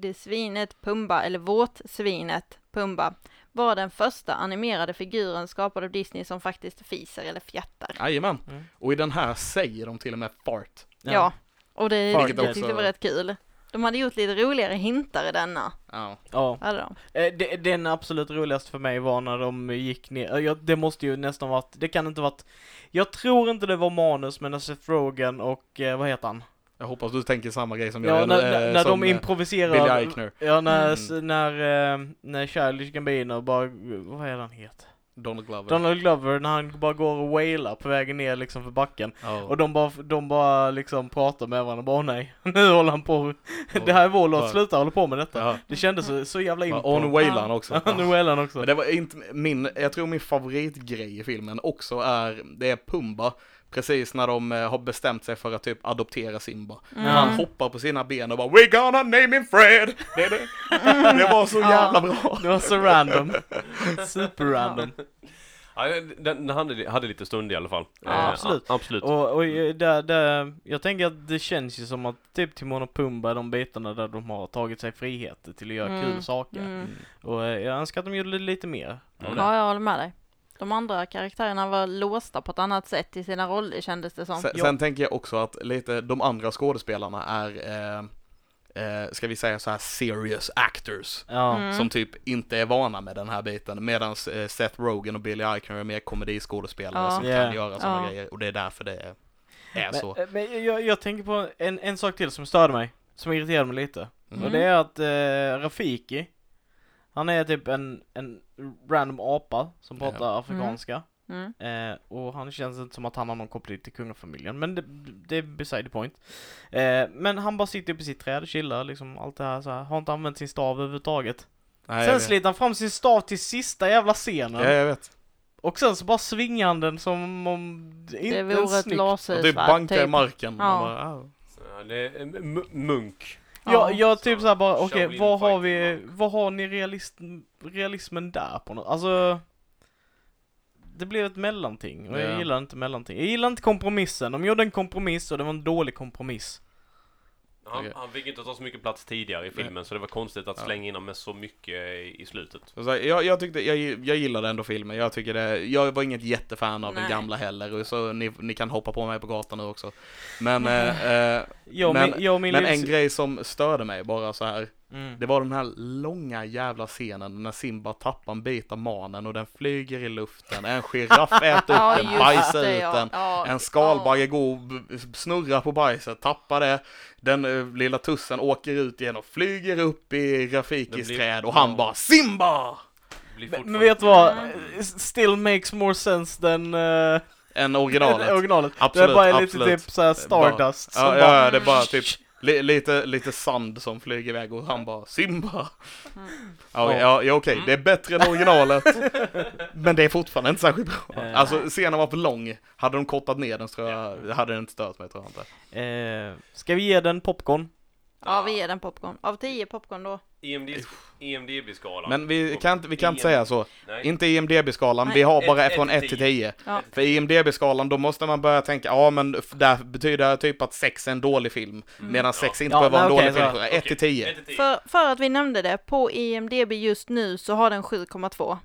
C: vildsvinet Pumba, eller våtsvinet Pumba, var den första animerade figuren skapad av Disney som faktiskt fiser eller fjättar.
D: Jajamän.
B: Mm.
D: Och i den här säger de till och med fart.
C: Ja, och det
D: Vilket
C: jag
D: också-
C: tyckte jag var rätt kul. De hade gjort lite roligare hintar i denna.
D: Ja.
B: ja.
C: Hade de.
B: Eh, det- Den absolut roligaste för mig var när de gick ner, eh, jag, det måste ju nästan varit, det kan inte varit, jag tror inte det var manus men när Seth Rogen och, eh, vad heter han?
D: Jag hoppas du tänker samma grej som
B: Ja,
D: jag.
B: när,
D: eller, eh,
B: när, när
D: som,
B: de
D: eh,
B: improviserar.
D: Billy Eichner,
B: Ja, när,
D: Mm.
B: s- när, eh, när Childish Gambino bara, vad är det han heter?
D: Donald Glover.
B: Donald Glover, när han bara går och wailar på vägen ner liksom för backen.
D: Ja.
B: Och de bara, de bara liksom pratar med varandra, bara "Åh, nej, nu håller han på, det här är vår
D: Ja.
B: låt, sluta hålla på med detta.
D: Ja.
B: Det kändes så, så jävla
D: Ja,
B: impro.
D: Och nu wailar han också.
B: Ja, nu wailar han
D: Men
B: också.
D: det var inte min, jag tror min favoritgrej i filmen också är, det är Pumba, precis när de eh, har bestämt sig för att typ adoptera Simba.
C: Mm.
D: Han hoppar på sina ben och bara We're gonna name him Fred! Det, det, det var så
C: Ja.
D: jävla bra!
B: Det var så random. Super random.
A: Ja, den, den hade, hade lite stund i alla fall.
C: Ja,
B: absolut.
A: a- absolut.
B: Och, och eh, där, där, jag tänker att det känns ju som att typ Timon och Pumba, de bitarna där de har tagit sig friheter till att göra
C: Mm.
B: kul saker.
C: Mm.
B: Och eh, jag önskar att de gjorde lite mer.
A: Ja,
C: Ja, jag håller med dig. De andra karaktärerna var låsta på ett annat sätt i sina roller kändes det som.
D: Sen,
B: Ja.
D: sen tänker jag också att lite, de andra skådespelarna är, eh, eh, ska vi säga så här serious actors.
B: Ja.
C: Mm.
D: Som typ inte är vana med den här biten. Medan eh, Seth Rogen och Billy Eichner är mer komediskådespelare
C: Ja.
D: som
B: Yeah.
D: kan göra sådana
C: Ja.
D: grejer. Och det är därför det är, är
B: Men,
D: så.
B: eh, men jag, jag tänker på en, en sak till som störde mig, som irriterade mig lite.
D: Mm.
B: Och det är att eh, Rafiki, han är typ en, en random apa som
D: Ja.
B: pratar afrikanska.
C: Mm.
B: Eh, och han känns inte som att han har någon koppling till kungafamiljen, men det, det är beside the point. Eh, men han bara sitter uppe i sitt träd, chillar liksom, allt det här så här. Har inte använt sin stav överhuvudtaget.
D: Nej, jag
B: sen
D: vet.
B: sliter han fram sin stav till sista jävla scenen.
D: Ja, jag vet.
B: Och sen så bara svingar han den som om... Inte
C: Det
B: ens
C: vore ett
B: snyggt.
D: Och
C: lasersvärd.
D: typ bankar i marken.
C: Ja.
D: Man bara, "Ah." "Au."
A: Ja, det är en m- munk.
B: Ja, jag
A: Så,
B: typ såhär bara, okej,
A: Shaolin
B: vad har vi,
A: fighting,
B: vad har ni realist, realismen där på något? Alltså, det blev ett mellanting, och
D: Ja.
B: jag gillar inte mellanting. Jag gillar inte kompromissen, de gjorde en kompromiss och det var en dålig kompromiss.
A: Han,
D: Okej.
A: han fick inte ta så mycket plats tidigare i filmen så det var konstigt att
D: Ja.
A: slänga in honom med så mycket i, i slutet.
D: Så så här, jag, jag, tyckte, jag, jag gillade ändå filmen, jag tycker det, jag var inget jättefan av
C: Nej.
D: den gamla heller, och så ni, ni kan hoppa på mig på gatan nu också. Men, eh, eh,
B: Jag och
D: Men-
B: min, jag och min
D: men
B: livs-
D: en grej som störde mig bara så här,
B: mm.
D: det var den här långa jävla scenen när Simba tappar en bit av manen och den flyger i luften, en giraff äter upp den, bajsar ut den.
C: ja.
D: En skalbagge går och b- snurrar på bajset, tappar det, den eh, lilla tussen åker ut igen och flyger upp i Rafikis
A: Den blir-
D: träd och han
A: ja.
D: bara Simba!
A: Det blir
B: Men-
A: fortfarande-
B: Men vet du vad?
C: Mm.
B: Still makes more sense than uh,
D: Än originalet.
B: originalet.
D: Absolut,
B: det är bara lite
D: absolut.
B: typ såhär
D: Det är bara-
B: Stardust som
D: Ja,
B: bara...
D: ja, det är bara typ Li- lite, lite sand som flyger iväg och han bara Simba.
C: Mm.
D: Ja,
B: Ja.
D: ja, ja okej,
A: Mm.
D: det är bättre än originalet. men det är fortfarande inte särskilt bra.
B: Eh.
D: Alltså scenen var för lång. Hade de kortat ner den så tror jag, det hade den inte stört mig tror jag inte.
B: Eh, ska vi ge den popcorn?
C: Ja, vi ger den popcorn. Av 10 popcorn då.
A: IMD, IMDB-skalan.
D: Men vi kan inte, vi kan inte säga så.
A: Nej.
D: Inte IMDB-skalan,
C: Nej.
D: vi har bara
A: Ett-
D: från
A: ett
D: 1 till 10.
C: Ja.
D: För IMDB-skalan, då måste man börja tänka, ja men f- där betyder det typ att 6 är en dålig film. Medan 6 inte
B: Mm. Ja,
D: behöver vara en
B: nej,
D: dålig
B: okej,
D: film.
B: så-
D: 1 till 10.
A: Ett till tio.
C: För, för att vi nämnde det, på E IMDB just nu så har den 7,2.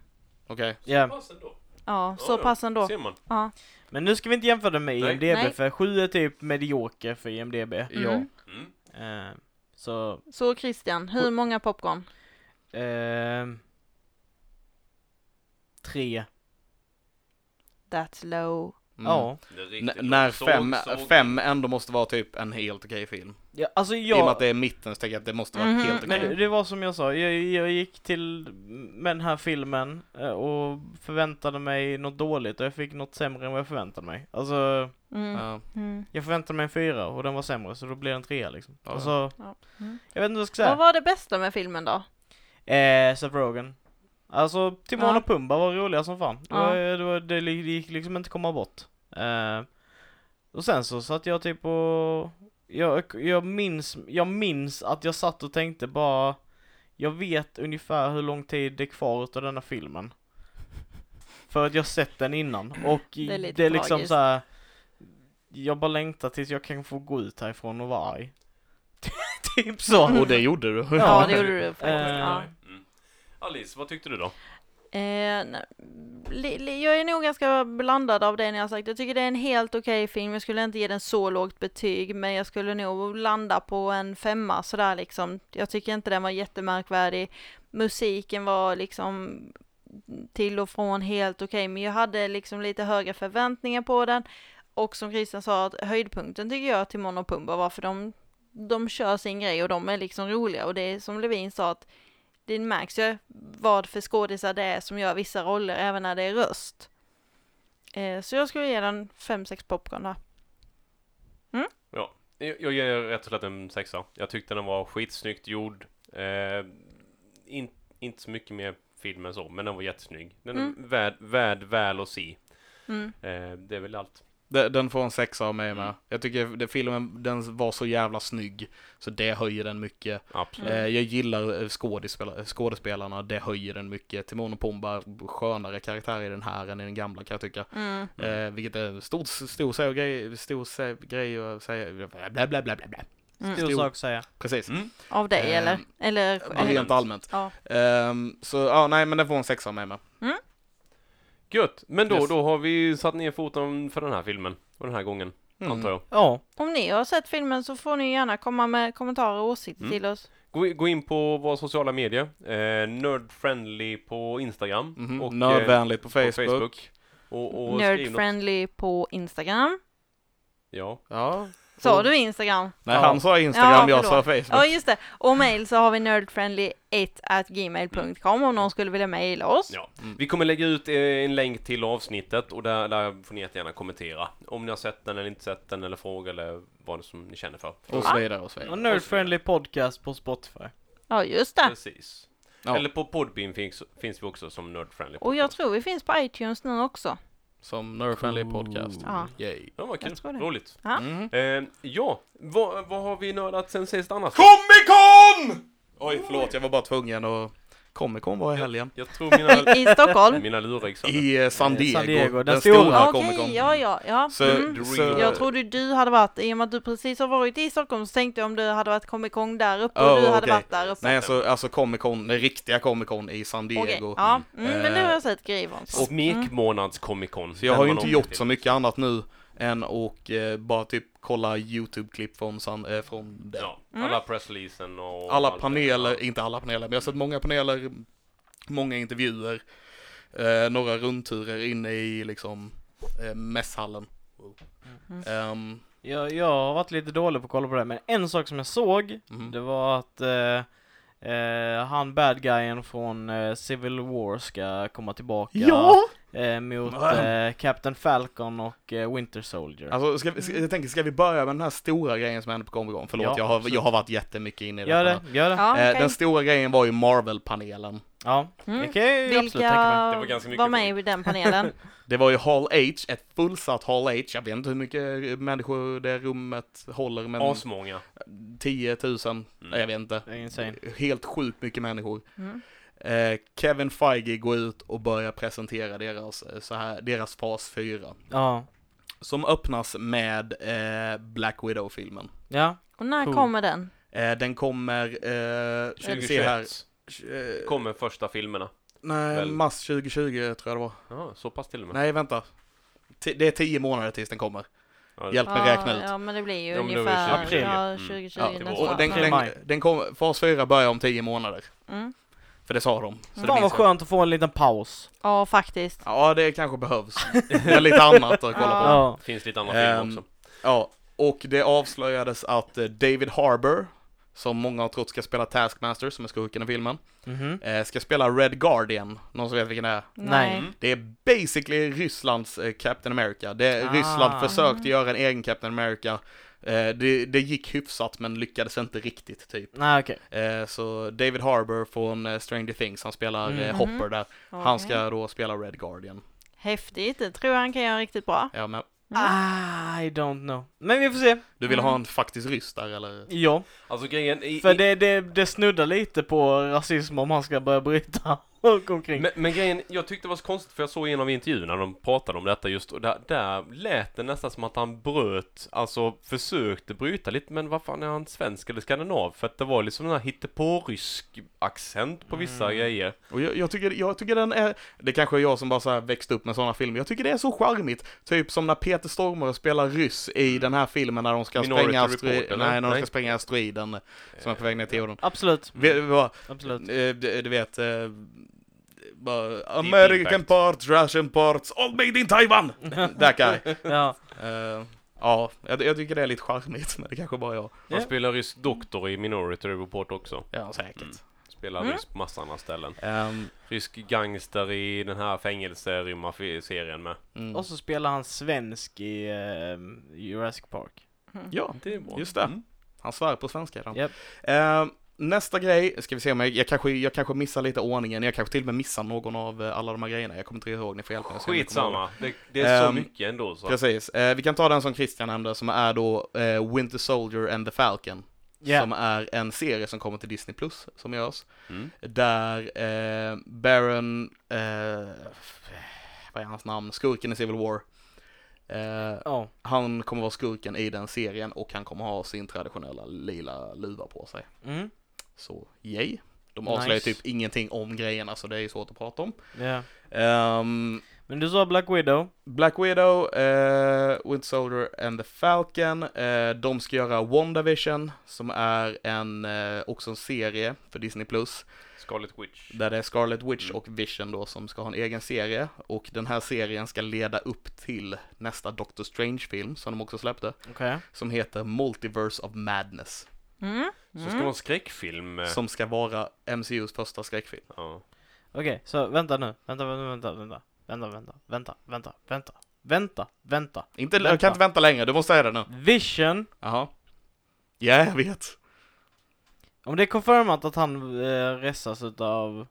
D: Okej.
B: Ja.
A: Pass ändå.
C: Ja, så
A: Ja, ja.
C: pass ändå.
A: Ser man.
C: Ja.
B: Men nu ska vi inte jämföra den med
A: Nej.
B: IMDB
C: Nej.
B: för 7 är typ medioker för IMDB.
C: Mm.
A: Mm.
B: Eh, så,
C: Så Christian, hur många popcorn?
B: eh, Tre.
C: That's low.
D: Mm.
B: Ja.
A: Det är
D: N-
A: riktigt
D: när
A: bra. Såg-
D: fem,
A: såg-
D: fem ändå måste vara typ en helt okej film.
B: ja. Alltså jag...
D: I och med att det är mitten så tänker jag att det måste vara
C: Mhm.
D: helt okej.
B: Men
C: Mm.
B: det, det var som jag sa, jag, jag gick till med den här filmen eh, och förväntade mig något dåligt och jag fick något sämre än vad jag förväntade mig. Alltså,
C: Mm.
D: Ja.
C: Mm.
B: jag förväntade mig en fyra och den var sämre så då blev det en trea liksom.
D: Ja,
B: Alltså,
C: ja. Mm.
B: jag vet inte vad jag ska
C: Vad
B: säga.
C: var det bästa med filmen då?
B: Eh, Seth Rogen. Alltså, Timon
C: Ja.
B: och Pumba var roliga som fan. Det,
C: Ja.
B: var, det, var, det li- det gick liksom inte komma bort. Eh, och sen så satt jag typ och... Jag, jag, minns, jag minns att jag satt och tänkte bara... Jag vet utav hur lång tid det är kvar utav denna filmen. För att jag sett den innan. Och
C: Det är
B: det är,
C: lite
B: liksom
C: tragiskt.
B: så här. Jag bara längtar tills jag kan få gå ut härifrån och vara arg. typ så.
D: Och det gjorde du.
C: Ja,
B: Ja.
C: det gjorde du faktiskt.
B: Eh.
C: Ja.
A: Mm. Alice, vad tyckte du då?
C: Eh, nej, li- li- jag är nog ganska blandad av det ni har sagt. Jag tycker det är en helt okej film. Jag skulle inte ge den så lågt betyg, men jag skulle nog landa på en femma sådär liksom. Jag tycker inte den var jättemärkvärdig. Musiken var liksom till och från helt okej, men jag hade liksom lite högre förväntningar på den. Och som Christian sa, att höjdpunkten tycker jag till Mono Pumba var för de, de kör sin grej och de är liksom roliga. Och det är som Levin sa, att det märks ju vad för skådisar det är som gör vissa roller, även när det är röst. Eh, så jag skulle ge den 5-6 popcorn där.
A: Jag jag ger rätt och slätt en sexa. Jag tyckte den var skitsnyggt gjord. Eh, in, inte så mycket mer film än så, men den var jättesnygg. Den är
C: Mm.
A: värd, värd väl att se.
C: Mm.
A: Eh, det är väl allt.
D: Den den får en sexa av mig med. Jag tycker det, filmen den var så jävla snygg. Så det höjer den mycket.
C: Mm.
A: Absolut.
D: Eh, jag gillar eh, skådespel- skådespelarna, det höjer den mycket. Timon och Pumba, skönare karaktär i den här än i den gamla kan jag tycka.
C: Mm.
A: Mm.
D: Eh, vilket är en stor, stor, stor grej, stor sä- grej att säga. Bla, bla, bla, bla, bla.
B: Stor
D: Jo.
B: sak att säga.
D: Precis.
A: Mm.
C: Av dig
D: Eh,
C: eller? Eller?
D: Rent allmänt.
C: Ja.
D: Ehm, så ja, nej men den får en sexa av mig med.
A: Gött! Men då,
D: Yes.
A: då har vi satt ner foten för den här filmen. Och den här gången, Mm. antar jag.
B: Ja.
C: Om ni har sett filmen så får ni gärna komma med kommentarer och åsikter
A: Mm.
C: till oss.
A: Gå, i- gå in på våra sociala medier. Eh, Nerdfriendly på Instagram.
D: Mhm.
A: eh,
D: Nödvändigt på
A: på
D: Facebook.
A: Och, och skriv något.
C: Nerdfriendly på Instagram.
A: Ja.
D: Ja.
C: Sa
D: Och-
C: du Instagram?
D: Nej,
B: Ja.
D: han sa Instagram,
C: Ja,
D: jag sa Facebook.
C: Ja, just det. Och mail så har vi nerdfriendly1 at gmail.com om någon skulle vilja mejla oss.
A: Ja.
D: Mm.
A: Vi kommer lägga ut eh, en länk till avsnittet och där, där får ni jättegärna kommentera om ni har sett den eller inte sett den eller fråga eller vad det som ni känner för.
D: Och så vidare och så
B: Och
D: vidare.
B: Nerdfriendly podcast på Spotify.
C: Ja, just det.
A: Precis.
D: Ja.
A: Eller på Podbean finns, finns vi också som Nerdfriendly.
C: Och jag tror vi finns på iTunes nu också.
D: Som Nerdfriendly podcast.
C: Ja.
D: Yay.
A: Ja, vad kul.
C: Jag tror det.
A: Roligt.
C: Ja.
D: Mm.
A: Eh, ja, vad, vad har vi nördat sen sist annars?
D: Comic Con! Oj, förlåt, jag var bara tvungen och Comic Con var i helgen.
A: Jag tror mina,
C: I Stockholm.
A: mina lurar gick sönder.
D: I eh, San
B: Eh,
D: Diego,
B: San Diego,
D: den
B: den
D: stora
B: stora.
D: Comic
C: Okej,
D: Con.
C: ja, ja, ja.
D: Så,
C: Mm.
D: så,
C: Jag trodde du hade varit, i och med att du precis har varit i Stockholm så tänkte jag om du hade varit Comic Con där uppe och
D: Oh,
C: du hade
D: okej.
C: varit där uppe.
D: nej, alltså, alltså Comic Con, den riktiga Comic Con i San Diego. Eh,
C: Okej, ja. Mm, men nu har jag sett Mm. grejer om.
A: Och Smekmånads Comic Con.
D: Mm. Så jag har ju inte gjort så mycket annat nu än och eh, bara typ kolla YouTube-klipp från, San, eh, från det.
A: Ja,
C: Mm.
A: alla pressleasen och...
D: alla
A: allt det.
D: paneler, inte alla paneler, men jag har sett många paneler, många intervjuer, eh, några rundturer inne i liksom eh, mässhallen.
C: Mm.
D: Ehm,
B: Jag, jag har varit lite dålig på att kolla på det, men en sak som jag såg,
D: Mm.
B: det var att eh, eh, han bad guyen från eh, Civil War ska komma tillbaka.
D: ja!
B: eh, mot eh, Captain Falcon och eh, Winter Soldier.
D: Alltså, ska vi, ska, jag tänker, ska vi börja med den här stora grejen som hände på Comic Con? Förlåt,
B: Ja,
D: jag, har,
B: absolut.
D: jag har varit jättemycket inne i
B: gör
D: detta.
B: det, gör det.
C: Ja,
D: Eh,
C: okej.
D: Den stora grejen var ju Marvel-panelen.
B: Ja, det
C: Mm.
B: kan jag ju
C: Vilka
B: absolut tänka mig.
A: Det var ganska mycket
C: var med i den panelen?
D: Det var ju Hall H, ett fullsatt Hall H. Jag vet inte hur mycket människor det rummet håller, men
A: Asmånga. Mm.
D: 10 000, Nej, jag vet inte.
B: Det är Mm. insane.
D: Helt sjukt mycket människor.
C: Mm.
D: Eh, Kevin Feige går ut och börjar presentera deras, eh, så här, deras fas 4.
B: Ja.
D: Som öppnas med eh, Black Widow-filmen.
B: Ja,
C: Och när
B: Cool.
C: kommer den?
D: Eh, den kommer... Eh, ska vi se här.
A: 2021
D: Eh,
A: kommer första filmerna.
D: nej,
A: väl? Mm.
D: mars 2020 tror jag det var.
A: Ja, så pass till och med.
D: Nej, vänta. Ti- det är 10 månader tills den kommer.
A: Ja,
D: Hjälp mig räkna ut.
C: Ah, Ja, men det blir ju
A: Ja, men då är det
C: ungefär
A: 2020.
C: ja,
A: Mm.
C: 2020
D: Ja,
A: det var-
C: nästa
D: och
C: år.
D: den,
B: April,
D: den,
B: maj.
D: den kom, fas 4 börjar om 10 månader.
C: Mm.
D: För det sa de. Så det
B: Fan vad
D: minns jag.
B: skönt att få en liten paus.
C: Ja, faktiskt.
D: Ja, det kanske behövs. Men lite annat att kolla på.
B: Ja.
A: Det finns lite andra
D: Ehm,
A: filmer också.
D: Ja, och det avslöjades att eh, David Harbour, som många har trott ska spela Taskmaster, som är skurken i filmen,
B: Mhm.
D: eh, ska spela Red Guardian. Någon som vet vilken det är?
B: Nej.
A: Mm.
D: Det är basically Rysslands eh, Captain America. Det,
B: Ah.
D: Ryssland försökte
C: Mm.
D: göra en egen Captain America. Eh, det, det gick hyfsat men lyckades inte riktigt typ.
B: Nej okej.
D: Eh, så David Harbour från eh, Stranger Things, han spelar
B: Mm.
D: eh,
C: Mhm.
D: Hopper där.
C: Okej.
D: Han ska då spela Red Guardian.
C: Häftigt, det tror jag han kan göra riktigt bra.
D: Ja, men
C: Mm.
B: I don't know. Men vi får se.
D: du vill
C: Mm.
D: ha en faktisk ryss där eller?
B: Ja.
A: Alltså grejen i,
B: För
A: i,
B: det, det, det snuddar lite på rasism om han ska börja bryta och omkring.
A: Men, men grejen, jag tyckte det var så konstigt för jag såg en av intervjuerna när de pratade om detta just och där, där lät det nästan som att han bröt, alltså försökte bryta lite men vad fan är han svensk eller skandinav? För att det var liksom den här hittepårysk accent på vissa
B: Mm.
A: grejer.
D: Och jag, jag, tycker, jag tycker den är, det kanske är jag som bara så här växt upp med sådana filmer, jag tycker det är så charmigt. Typ som när Peter Stormare spelar ryss i den här filmen när de ska
A: Minority
D: spränga,
A: Report,
D: astro-
A: eller?
D: nej, när de
A: Nej.
D: ska spränga asteroiden som är på väg ner till jorden.
B: Absolut,
D: Vi, vi bara,
B: absolut.
D: eh, du du vet, eh, bara, "Ah, American
A: impact.
D: parts, Russian parts, all made in Taiwan! Där kan jag.
B: Ja.
D: Eh, Ja, jag, jag tycker det är lite charmigt, men det kanske bara är jag.
A: Han
B: Ja.
A: spelar rysk doktor i Minority Report också.
D: Ja, säkert.
A: Spelar
C: Mm.
A: rysk på massa andra ställen.
D: Ehm,
A: Rysk gangster i den här fängelserymmarserien med.
D: mm.
B: Och så spelar han svensk i eh, Jurassic Park.
D: Ja,
A: Det är bra.
D: Just det.
A: Mm.
D: han svär på svenska. Då.
B: Japp.
D: Eh, nästa grej, ska vi se om jag, jag, kanske, jag kanske missar lite ordningen, jag kanske till och med missar någon av eh, alla de här grejerna, jag kommer inte ihåg, ni får hjälpa mig. så jag kommer ihåg
A: Skitsamma. Det, det är så
D: Ehm,
A: mycket ändå
D: det.
A: så.
D: Precis, Eh, vi kan ta den som Christian nämnde som är då eh, Winter Soldier and the Falcon.
B: Ja.
D: Som är en serie som kommer till Disney Plus som görs.
A: Mm.
D: Där eh, Baron, eh, vad är hans namn, skurken i Civil War. Eh,
B: Ja.
D: han kommer vara skurken i den serien och han kommer ha sin traditionella lila luva på sig.
B: Mm.
D: Så yay. De
B: Nice.
D: avslöjar typ ingenting om grejerna så det är ju svårt att prata om.
B: Ja.
D: Ehm,
B: Men du sa Black Widow.
D: Black Widow, eh, Winter Soldier and the Falcon. eh, de ska göra WandaVision som är en, eh, också en serie för Disney+. Plus
A: Scarlet Witch.
D: Där det är Scarlet Witch
A: Mm.
D: och Vision då som ska ha en egen serie. Och den här serien ska leda upp till nästa Doctor Strange-film som de också släppte.
B: Okej.
D: Som heter Multiverse of Madness.
C: Mm.
A: Så ska det vara en skräckfilm. eh,
D: Som ska vara MCUs första skräckfilm.
A: Ja.
B: Okej, så vänta nu. Vänta, vänta, vänta, vänta. Vänta, vänta, vänta, vänta, vänta, vänta.
D: Inte, Jag
B: Vänta.
D: kan inte vänta längre, du måste säga det nu.
B: Vision.
D: Jaha. Ja, jag vet.
B: Om det är confirmat att han eh, restas utav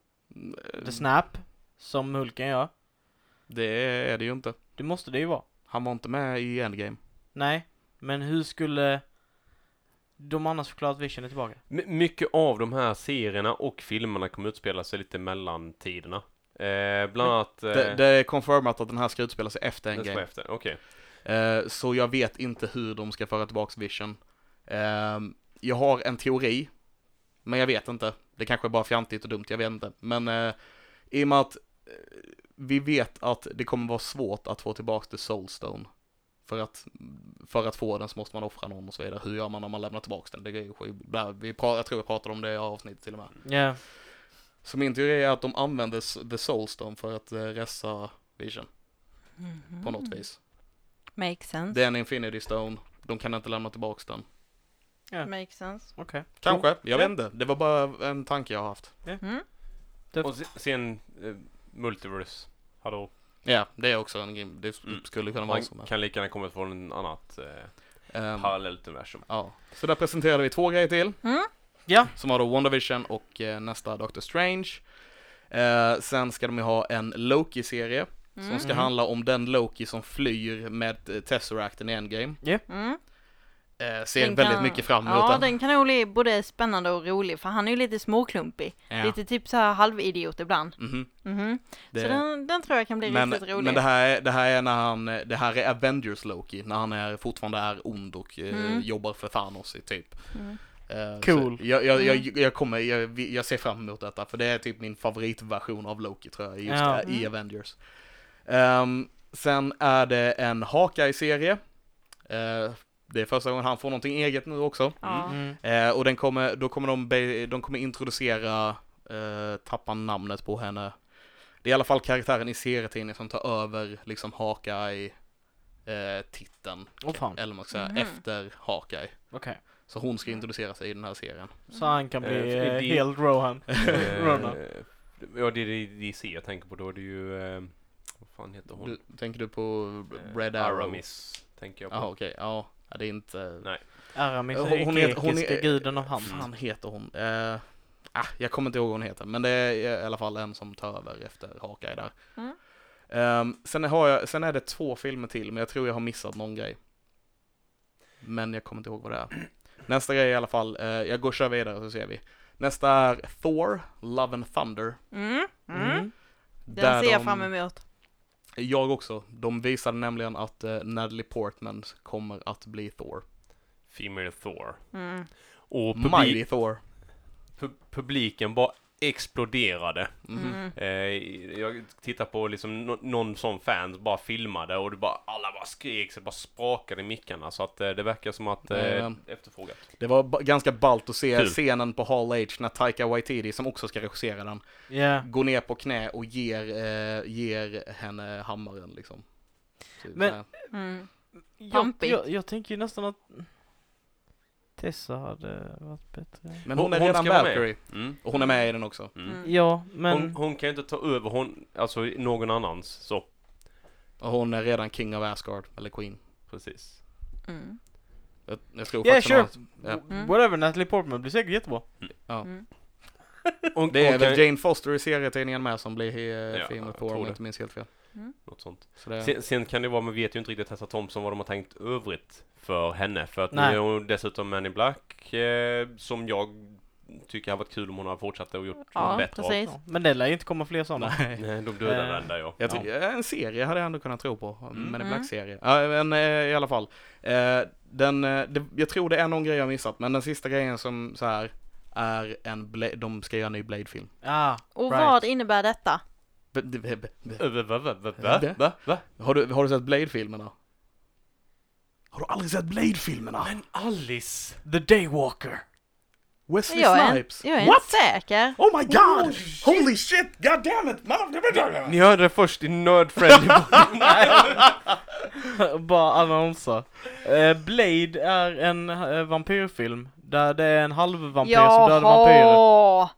B: The Snap, som Hulken gör.
D: Det är det ju inte.
B: Det måste det ju vara.
D: Han var inte med i Endgame.
B: Nej, men hur skulle de annars förklara att Vision är tillbaka?
A: My- mycket av de här serierna och filmerna kommer utspela sig lite mellan tiderna. Eh, bland annat... Eh,
D: Mm. Det, det är confirmat att den här ska utspela sig efter
A: den ska
D: Endgame.
A: efter, okej.
D: Eh, så jag vet inte hur de ska föra tillbaks Vision. Eh, jag har en teori, men jag vet inte. Det kanske är bara fjantigt och dumt, jag vet inte. Men eh, i och med att eh, vi vet att det kommer vara svårt att få tillbaks The Soulstone. För att, för att få den så måste man offra någon och så vidare. Hur gör man om man lämnar tillbaks den? Det är ju skit. Bla, vi pra- Jag tror vi pratade om det i avsnittet till och med.
B: Ja,
D: Så min teori är att de använder s- The Soulstone för att eh, resa Vision
C: Mhm.
D: på något vis.
C: Makes sense.
D: Det är en Infinity Stone, de kan inte lämna tillbaka den.
C: Makes sense.
B: okej.
D: Kanske,
C: Mm.
D: jag vet inte. Det var bara en tanke jag har haft.
C: Mm.
B: Det-
A: Och se- sen eh, Multiverse. Hallå.
D: Ja, det är också en grim, det
A: Mm.
D: skulle kunna vara
A: Man
D: så. men,
A: kan lika gärna kommit från ett annat eh,
D: ehm,
A: parallellt universum.
D: ja. Så där presenterade vi två grejer till.
C: Mm.
B: Ja.
D: Som var då WandaVision och eh, nästa Doctor Strange. Eh, sen ska de ju ha en Loki-serie som
C: Mm.
D: ska handla om den Loki som flyr med eh, Tesseracten i Endgame.
C: Mm.
D: Eh, ser
C: Den
D: väldigt
C: kan-
D: mycket fram emot
C: Ja, den kan nog bli både spännande och rolig för han är ju lite småklumpig.
D: Ja.
C: Lite typ så här halvidiot ibland.
D: Mhm.
C: Mhm.
D: Det-
C: Så den, den tror jag kan bli
D: men,
C: riktigt rolig.
D: men det här, är, det här är när han, det här är Avengers Loki, när han är, fortfarande är ond och eh,
C: Mm.
D: jobbar för Thanos i typ.
C: Mm.
D: Eh,
B: Cool.
D: så Jag, jag, jag,
C: Mm.
D: jag kommer, jag, jag ser fram emot detta, för det är typ min favoritversion av Loki tror jag, just
B: Ja.
D: där, i
C: Mm.
D: Avengers. Ehm, sen är det en Hawkeye-serie. Eh, det är första gången han får någonting eget nu också.
C: Ja.
B: Mm.
D: Eh, och den kommer, då kommer de, be- de kommer introducera, eh, tappa namnet på henne. Det är i alla fall karaktären i serietidningen som tar över liksom Hawkeye eh, titeln,
B: Åh fan,
D: eller vad man ska säga,
C: Mhm.
D: efter Hawkeye.
B: okej.
D: Så hon ska introducera sig i den här serien.
B: Så han kan bli
A: Eh,
B: eh,
A: det-
B: helt Rohan. Rona.
A: Eh, ja, det är det DC jag tänker på då. Det är ju... Eh, vad fan heter hon?
D: Du, tänker du på
A: Eh,
D: Red Arrow?
A: Aramis, tänker jag på.
D: Jaha, okej, ja. Ja, Det är inte...
A: Nej.
B: Aramis
D: Hon-
B: är
D: hon
B: hon,
D: heter- hon
B: grekiska
D: är-
B: guden av
D: Vad
B: hamn.
D: fan heter hon? Eh, ah, jag kommer inte ihåg vad hon heter, men det är i alla fall en som tar över efter Hawkeye där.
C: Mm.
D: Ehm, sen, har jag, sen är det två filmer till, men jag tror jag har missat någon grej. Men jag kommer inte ihåg vad det är. Nästa grej i alla fall, eh, jag går och kör vidare så ser vi. Nästa är Thor, Love and Thunder.
C: Mm. Mm.
B: Mm.
C: Den ser jag fram emot.
D: Jag också. De visade nämligen att eh, Natalie Portman kommer att bli Thor.
A: Female Thor.
C: Mm.
A: Och
D: Mighty Thor.
A: pu- publiken bara exploderade.
D: Mhm.
C: Mm.
A: Eh, jag tittar på liksom nå- någon sån fan bara filmade och det bara alla bara skrek så det bara sprakade i mickarna så att eh, det verkar som att eh,
D: Mm.
A: efterfrågat.
D: Det var ba- ganska ballt att se
A: Kul.
D: scenen på Hall H när Taika Waititi, som också ska regissera den,
B: Ja.
D: går ner på knä och ger, eh, ger henne hammaren liksom. Typ
B: Men-
D: så här.
C: Mm.
B: Jag,
C: Pampigt.
B: jag, jag tänker ju nästan att Tessa hade varit bättre.
D: Men
A: Hon-
D: hon, är
A: hon
D: redan
A: ska vara med.
D: Valkyrie.
A: Mm.
D: Och hon är med i den också.
A: Mm.
C: Mm.
B: Ja, men...
A: Hon, hon kan ju inte ta över hon, alltså någon annans så
D: Och hon är redan King of Asgard, eller Queen.
A: precis.
C: Mm.
D: Jag, jag tror
B: Yeah,
D: faktiskt
B: sure.
D: hon har-
C: Mm.
B: Whatever, Natalie Portman blir säkert jättebra.
C: Mm.
A: Hon,
D: ja. Det är
A: hon
D: väl
A: kan-
D: Jane Foster i serietidningen med som blir eh,
A: Ja,
D: Female
A: jag
D: Thor om
A: tror
D: jag
A: det.
D: inte minns helt fel.
A: något sånt.
D: Så det,
A: Sen, sen kan det vara, man vet ju inte riktigt Tessa Thompson vad de har tänkt övrigt för henne för att nu
B: Nej.
A: är hon dessutom Man in Black eh, som jag tycker har varit kul om hon har fortsatt och gjort
C: Ja,
A: bättre av.
C: precis.
B: Ja, men det lär ju inte komma fler sådana.
D: nej.
A: Nej, de dödar
B: Eh,
A: den där ja.
D: Jag tror, En serie hade jag ändå kunnat tro på,
A: Mm.
D: men en
C: Mm.
D: Black-serie. Ja, men eh, i alla fall. Eh, Den, eh, det, jag tror det är någon grej jag missat, men den sista grejen som så här är en, Bla- de ska göra en ny Blade-film.
B: Ah,
C: Och
B: Right.
C: vad innebär detta?
D: B- b- b- b-
A: Ö, Va, va, va, va,
D: Det?
A: va, va, va?
D: Har du, har du sett Blade-filmerna? Har du aldrig sett Blade-filmerna?
A: Men Alice!
B: The Daywalker.
D: Wesley
C: Jag är,
D: Snipes?
C: jag är
D: What?
C: inte säker.
D: Oh my god! Holy shit! God damn it! Man-
A: Ni hörde det först i Nerd Friendly
B: Bara annonser. Eh, Blade är en eh, vampyrfilm. Där det är en halvvampyr som dödar vampyrer.
C: Jaha!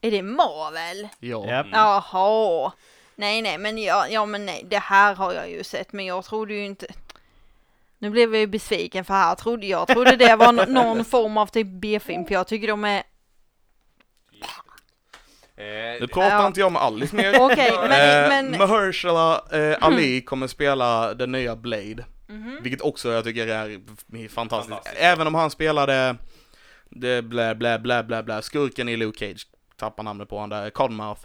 C: Är det Marvel?
D: Ja.
B: Japp.
A: Mm.
C: Jaha! Nej, nej, men ja, ja, men nej, det här har jag ju sett, men jag trodde ju inte... Nu blev jag ju besviken för här trodde jag trodde det var nå- någon form av typ B-film, för jag tycker de är...
D: Nu
A: eh,
D: pratar
C: Ja.
D: inte jag med Alice mer.
C: Okej,
D: Eh,
C: men... men...
D: Mahershala eh, Ali kommer spela den nya Blade,
C: Mhm.
D: vilket också jag tycker är fantastiskt.
A: Fantastiskt.
D: Även om han spelade det blä, blä, blä, blä, blä, skurken i Luke Cage, tappar namnet på han där, Codmouth.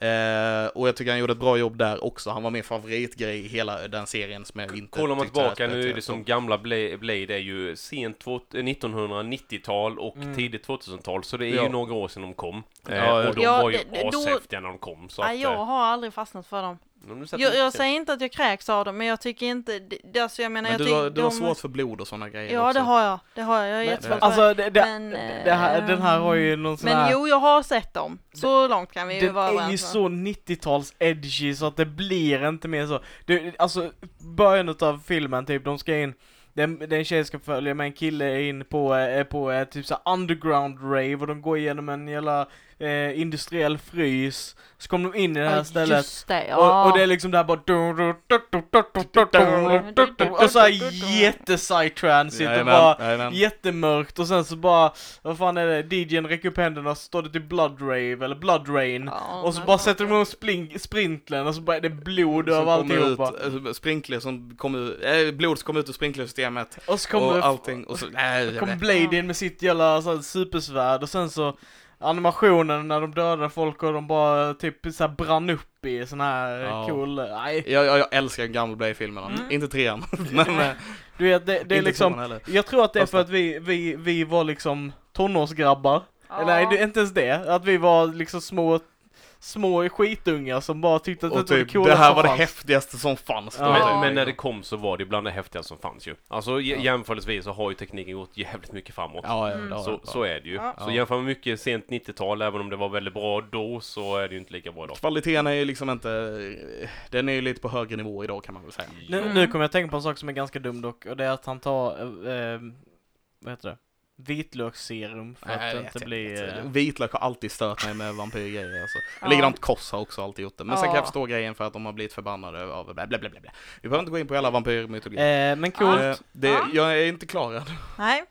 A: Mm.
D: Eh, och jag tycker han gjorde ett bra jobb där också, han var min favoritgrej i hela eh, den serien som jag inte
A: Kollar man
D: tyckte jag
A: tillbaka nu är
D: spelade
A: det som
D: topp.
A: gamla Bla- Blade är ju sent två- 1990-tal och
B: Mm.
A: tidigt 2000-tal så det är
D: Ja.
A: ju några år sedan de kom. Eh,
D: Ja, ja.
A: och de
C: Ja,
A: var ju
C: det- det- då-
A: ashäftiga när de kom så att...
C: Nej, jag
A: eh,
C: har aldrig fastnat för dem.
A: om du sätter-
C: Jag, jag säger inte att jag kräks av dem, men jag tycker inte... det- det- Alltså jag menar,
D: Men
C: jag
D: du
C: tycker...
D: har, du har
C: de-
D: svårt för blod och sådana grejer
C: Ja,
D: också.
C: det har jag. Det har jag. Jag är
D: Men-
C: jättesvårt för det.
B: Alltså, det, det,
C: Men, eh,
B: det här, den här har ju någon sån
C: Men
B: här...
C: jo, jag har sett dem. Så långt kan vi ju
B: Den
C: vara alltså.
B: är ju
C: överens. va?
B: så 90-tals edgy så att det blir inte mer så. Du, alltså början utav filmen typ, de ska in, den, den tjej ska följa med en kille in på, eh, på eh, typ så här underground rave och de går igenom en jävla eh, eh, industriell frys. Så kom de in i det här
C: Ja,
B: stället.
C: just det,
B: Och,
C: ja.
B: och det är liksom där bara... Och så här jätte-psytrance och bara jättemörkt och sen så bara... Vad fan är det? DJn räcker upp händerna och så står det till Blood Rave eller Blood Rain.
C: Ja,
B: Och så
C: men-
B: bara sätter de igång splink- sprintlen och så bara är det blod över alltihopa.
D: Sprinkler eh, som kom ut, eh, blod som kom ut ur sprinklersystemet
B: Och så kommer
D: och allting och så, nej, jag
B: Kom
D: vet.
B: Blade in med sitt jävla så här, supersvärd och sen så animationen när de dödade folk och de bara typ så här, brann upp i sån här eh,
D: Ja.
B: cool, nej.
D: jag, jag, jag älskar gamla Blade-filmerna,
C: Mm.
D: inte trean, men eh,
B: Du vet, det, det är
D: inte tvåan
B: liksom,
D: heller.
B: jag tror att det är för
D: Fasta.
B: att vi, vi, vi var liksom tonårsgrabbar.
C: Ja.
B: Eller nej, det är inte ens det. Att vi var liksom små, små skitungar som bara tyckte att
D: Och
B: det var det
D: typ, det
B: coolaste
D: här var det
B: som fanns.
D: häftigaste som fanns.
B: Ja.
A: Men, men när det kom så var det bland det häftigaste som fanns ju. Alltså j- jämförelsevis så har ju tekniken gått jävligt mycket framåt.
D: Ja, ja, det
C: Mm.
D: har
A: Så,
D: jag.
A: så är det ju.
C: Ja.
A: Så jämför med mycket sent 90-tal, även om det var väldigt bra då, så är det ju inte lika bra idag.
D: Kvaliteten är ju liksom inte, den är ju lite på högre nivå idag kan man väl säga.
B: Nu, nu kommer jag att tänka på en sak som är ganska dum dock och det är att han tar, eh, eh, vad heter det? Vitlöksserum för
D: Nej, jag
B: att
D: vet
B: inte
D: inte.
B: bli... eh,
D: Vitlök har alltid stört mig med vampyrgrejer alltså.
C: Ja.
D: Likadant Koss har också alltid gjort det. Men sen kan
C: Ja.
D: jag förstå grejen för att de har blivit förbannade av bla bla bla bla. bla. Vi behöver inte gå in på hela vampyrmytologi.
B: Eh, men coolt.
D: Eh, det,
C: Ja.
D: Jag är inte klar än.
C: Nej.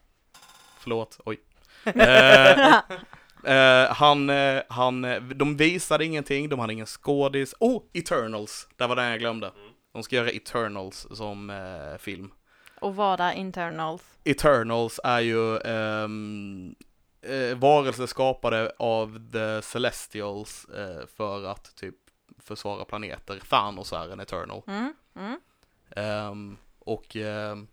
D: Förlåt, oj. Eh, eh, han, eh, han, eh, de visade ingenting, de hade ingen skådis. Oh, Eternals! Där var den jag glömde. De ska göra Eternals som eh, film.
C: Och vad är internals?
D: Eternals är ju ehm, eh, varelser skapade av The Celestials eh, för att typ försvara planeter. Thanos är en Eternal.
C: Mm, mm.
D: Ehm, och ehm,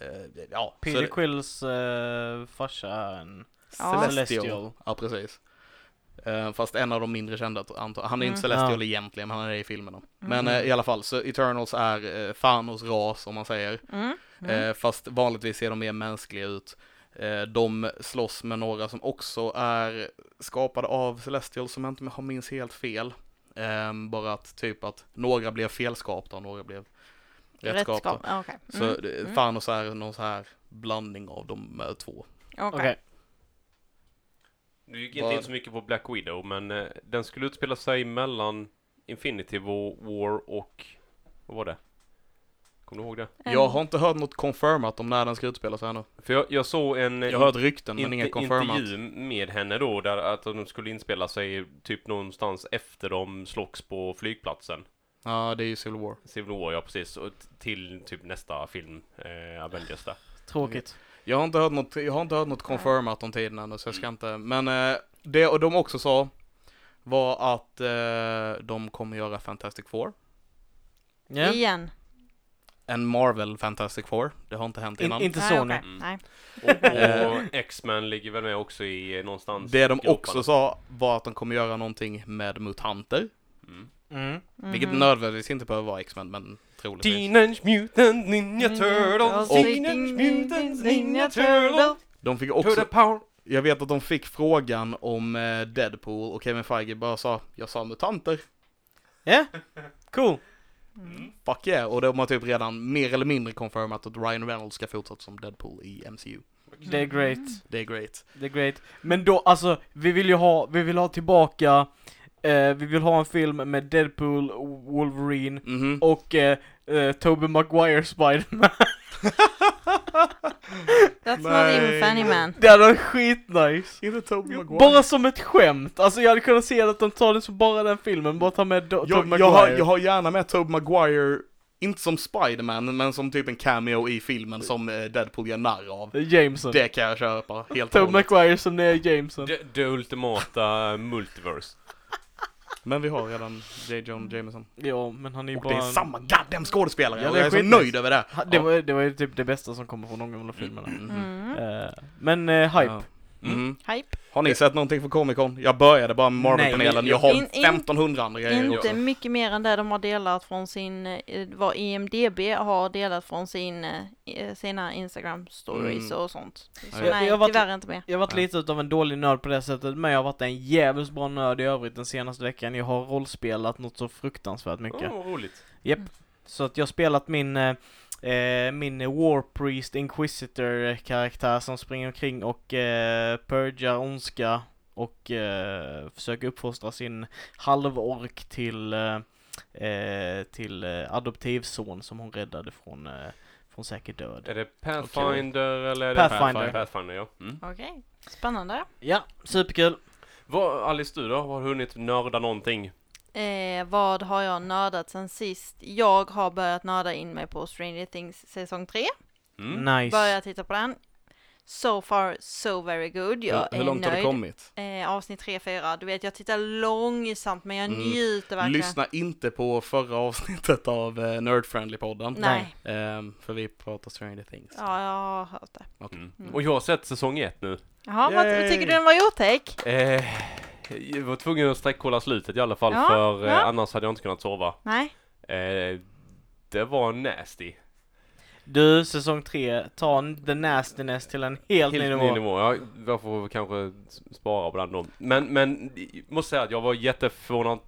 D: eh, ja, så
B: Peter
D: det-
B: Quills eh, farsa är en...
C: Ja.
B: Celestial.
D: Ja, precis. Eh, fast en av de mindre kända, antar Han är
C: Mm.
D: inte Celestial
B: Ja.
D: egentligen, men han är det i filmerna.
C: Mm.
D: Men eh, i alla fall, så Eternals är eh, Thanos ras, om man säger.
C: Mm.
D: Eh, fast vanligtvis ser de mer mänskliga ut. Eh, de slåss med några som också är skapade av Celestial som jag inte har- minns helt fel. Eh, bara att typ att några blev felskapta och några blev rättskapta.
C: Rättskap. Okej. Okay.
D: Så mm. Thanos är någon så här blandning av de eh, två.
B: Okej.
A: Nu gick inte in så mycket på Black Widow, men eh, den skulle utspela sig mellan Infinity War- War och... Vad var det? Kommer du ihåg det?
D: Jag har inte hört något confirmat om när den ska utspela sig ännu.
A: För jag, jag såg en... eh,
D: Jag har hört rykten men
A: inte-
D: inget confirmat.
A: intervju med henne då, där att de skulle inspela sig typ någonstans efter de slogs på flygplatsen.
D: Ja, det är ju Civil War.
A: Civil War, ja precis. Och t- till typ nästa film, eh, Avengers där.
B: Tråkigt.
D: Jag har inte hört något, jag har inte hört något confirmat om tiden ännu så jag ska inte, men eh, det och de också sa var att eh, de kommer göra Fantastic Four.
B: Ja.
C: Igen.
D: En Marvel Fantastic Four, det har inte hänt
B: In,
D: innan.
B: inte
C: Nej,
B: Sony.
C: okej. Nej.
A: Och, och X-Men ligger väl med också i eh, någonstans.
D: Eh. det de
A: groparna.
D: också sa var att de kommer göra någonting med mutanter,
A: Mm.
B: Mm.
D: vilket
C: Mhm.
D: nödvändigtvis inte behöver vara X-Men, men troligtvis.
A: Teenage Mutant Ninja Turtles,
D: Och-
A: Teenage
B: Mm.
A: Mutant Ninja Turtles,
D: De fick
A: to the
D: också,
A: power.
D: jag vet att de fick frågan om eh, Deadpool och Kevin Feige bara sa, jag sa mutanter.
B: Cool. Mm.
D: Fuck yeah, och de har typ redan mer eller mindre confirmat att Ryan Reynolds ska fortsätta som Deadpool i MCU.
B: Det är great.
D: Det är great.
B: Det är great. Men då, alltså, vi vill ju ha, vi vill ha tillbaka, eh, vi vill ha en film med Deadpool, Wolverine
D: Mhm.
B: och eh, eh, Tobey Maguire Spiderman.
C: That's not
D: Nej.
C: even funny man.
B: det hade varit skitnice.
D: Inte Tobey Maguire.
B: Bara som ett skämt, alltså jag hade kunnat se att de tar det som bara den filmen, bara ta med Do- Tobey
D: jag,
B: Maguire.
D: jag, har, jag har gärna med Tobey Maguire, inte som Spiderman, men som typ en cameo i filmen som eh, Deadpool gör narr av.
B: Jameson.
D: Det kan jag köpa helt och
B: Tobey
D: hållet.
B: Maguire som nya Jameson.
A: Det, det ultimata multiverse.
D: Men vi har redan J. John Jameson.
B: Ja, men han är ju
D: Och
B: bara...
D: det är
B: en-
D: samma goddamn skådespelare!
B: Ja,
D: och
B: det är
D: jag är så
B: skitnice.
D: nöjd över det.
B: Ha- Det var, det var ju typ det bästa som kommer från någon av de filmerna.
D: Mhm.
C: Mm.
B: Eh, men eh, hype.
D: Ja. Mhm.
C: Hype.
D: Har ni sett någonting från Comic Con? Jag började bara med Marvel-panelen,
A: Nej,
D: jag har
C: in- in-
D: 1500 andra grejer
C: Inte
D: också.
C: mycket mer än det de har delat från sin, eh, vad IMDB har delat från sin, eh, sina Instagram stories
D: Mm.
C: och sånt. Så
D: Jag-
C: nej,
B: jag var-
C: tyvärr inte mer.
B: Jag har varit
D: Ja.
B: lite utav en dålig nörd på det sättet, men jag har varit en jävligt bra nörd i övrigt den senaste veckan. Jag har rollspelat något så fruktansvärt mycket.
A: Åh, vad roligt.
B: Så att jag har spelat min, eh, eh, min War Priest Inquisitor karaktär som springer omkring och eh, purgar ondska och eh, försöker uppfostra sin halvork till, eh, eh, till eh, adoptivson som hon räddade från, eh, från säker död.
A: Är det Pathfinder eller är det
B: Pathfinder.
A: Pathfinder ja. Mm.
C: Okej, spännande.
B: Ja, superkul!
A: Vad, Alice du då? Har du hunnit nörda någonting?
C: Eh, vad har jag nördat sen sist? Jag har börjat nörda in mig på Stranger Things säsong 3.
A: Mm.
B: Nice!
C: Börjar titta på den. So far, so very good. Jag
D: hur
C: är
D: långt har
C: nöjd.
D: du kommit?
C: Eh, avsnitt 3, 4. Du vet, jag tittar långsamt men jag
D: Mm.
C: njuter verkligen.
D: Lyssna inte på förra avsnittet av eh, Nerd Friendly-podden.
C: Nej.
D: Ehm, för vi pratar Stranger Things.
C: Ja, jag har hört det.
D: Okej.
A: Mm. Och jag har sett säsong ett nu.
C: Jaha, vad
D: Yay!
C: tycker du den var otäck?
A: Eh, jag var tvungen att streckkolla slutet i alla fall
C: Ja,
A: för eh,
C: ja.
A: annars hade jag inte kunnat sova.
C: Nej.
A: Eh, det var nasty.
B: Du, säsong 3, ta n- the nastiness till en helt,
A: Helt
B: ny
A: ny
B: nivå.
A: nivå. Ja, jag får kanske s- spara på den då. Men, men jag måste säga att jag var jätteförvånad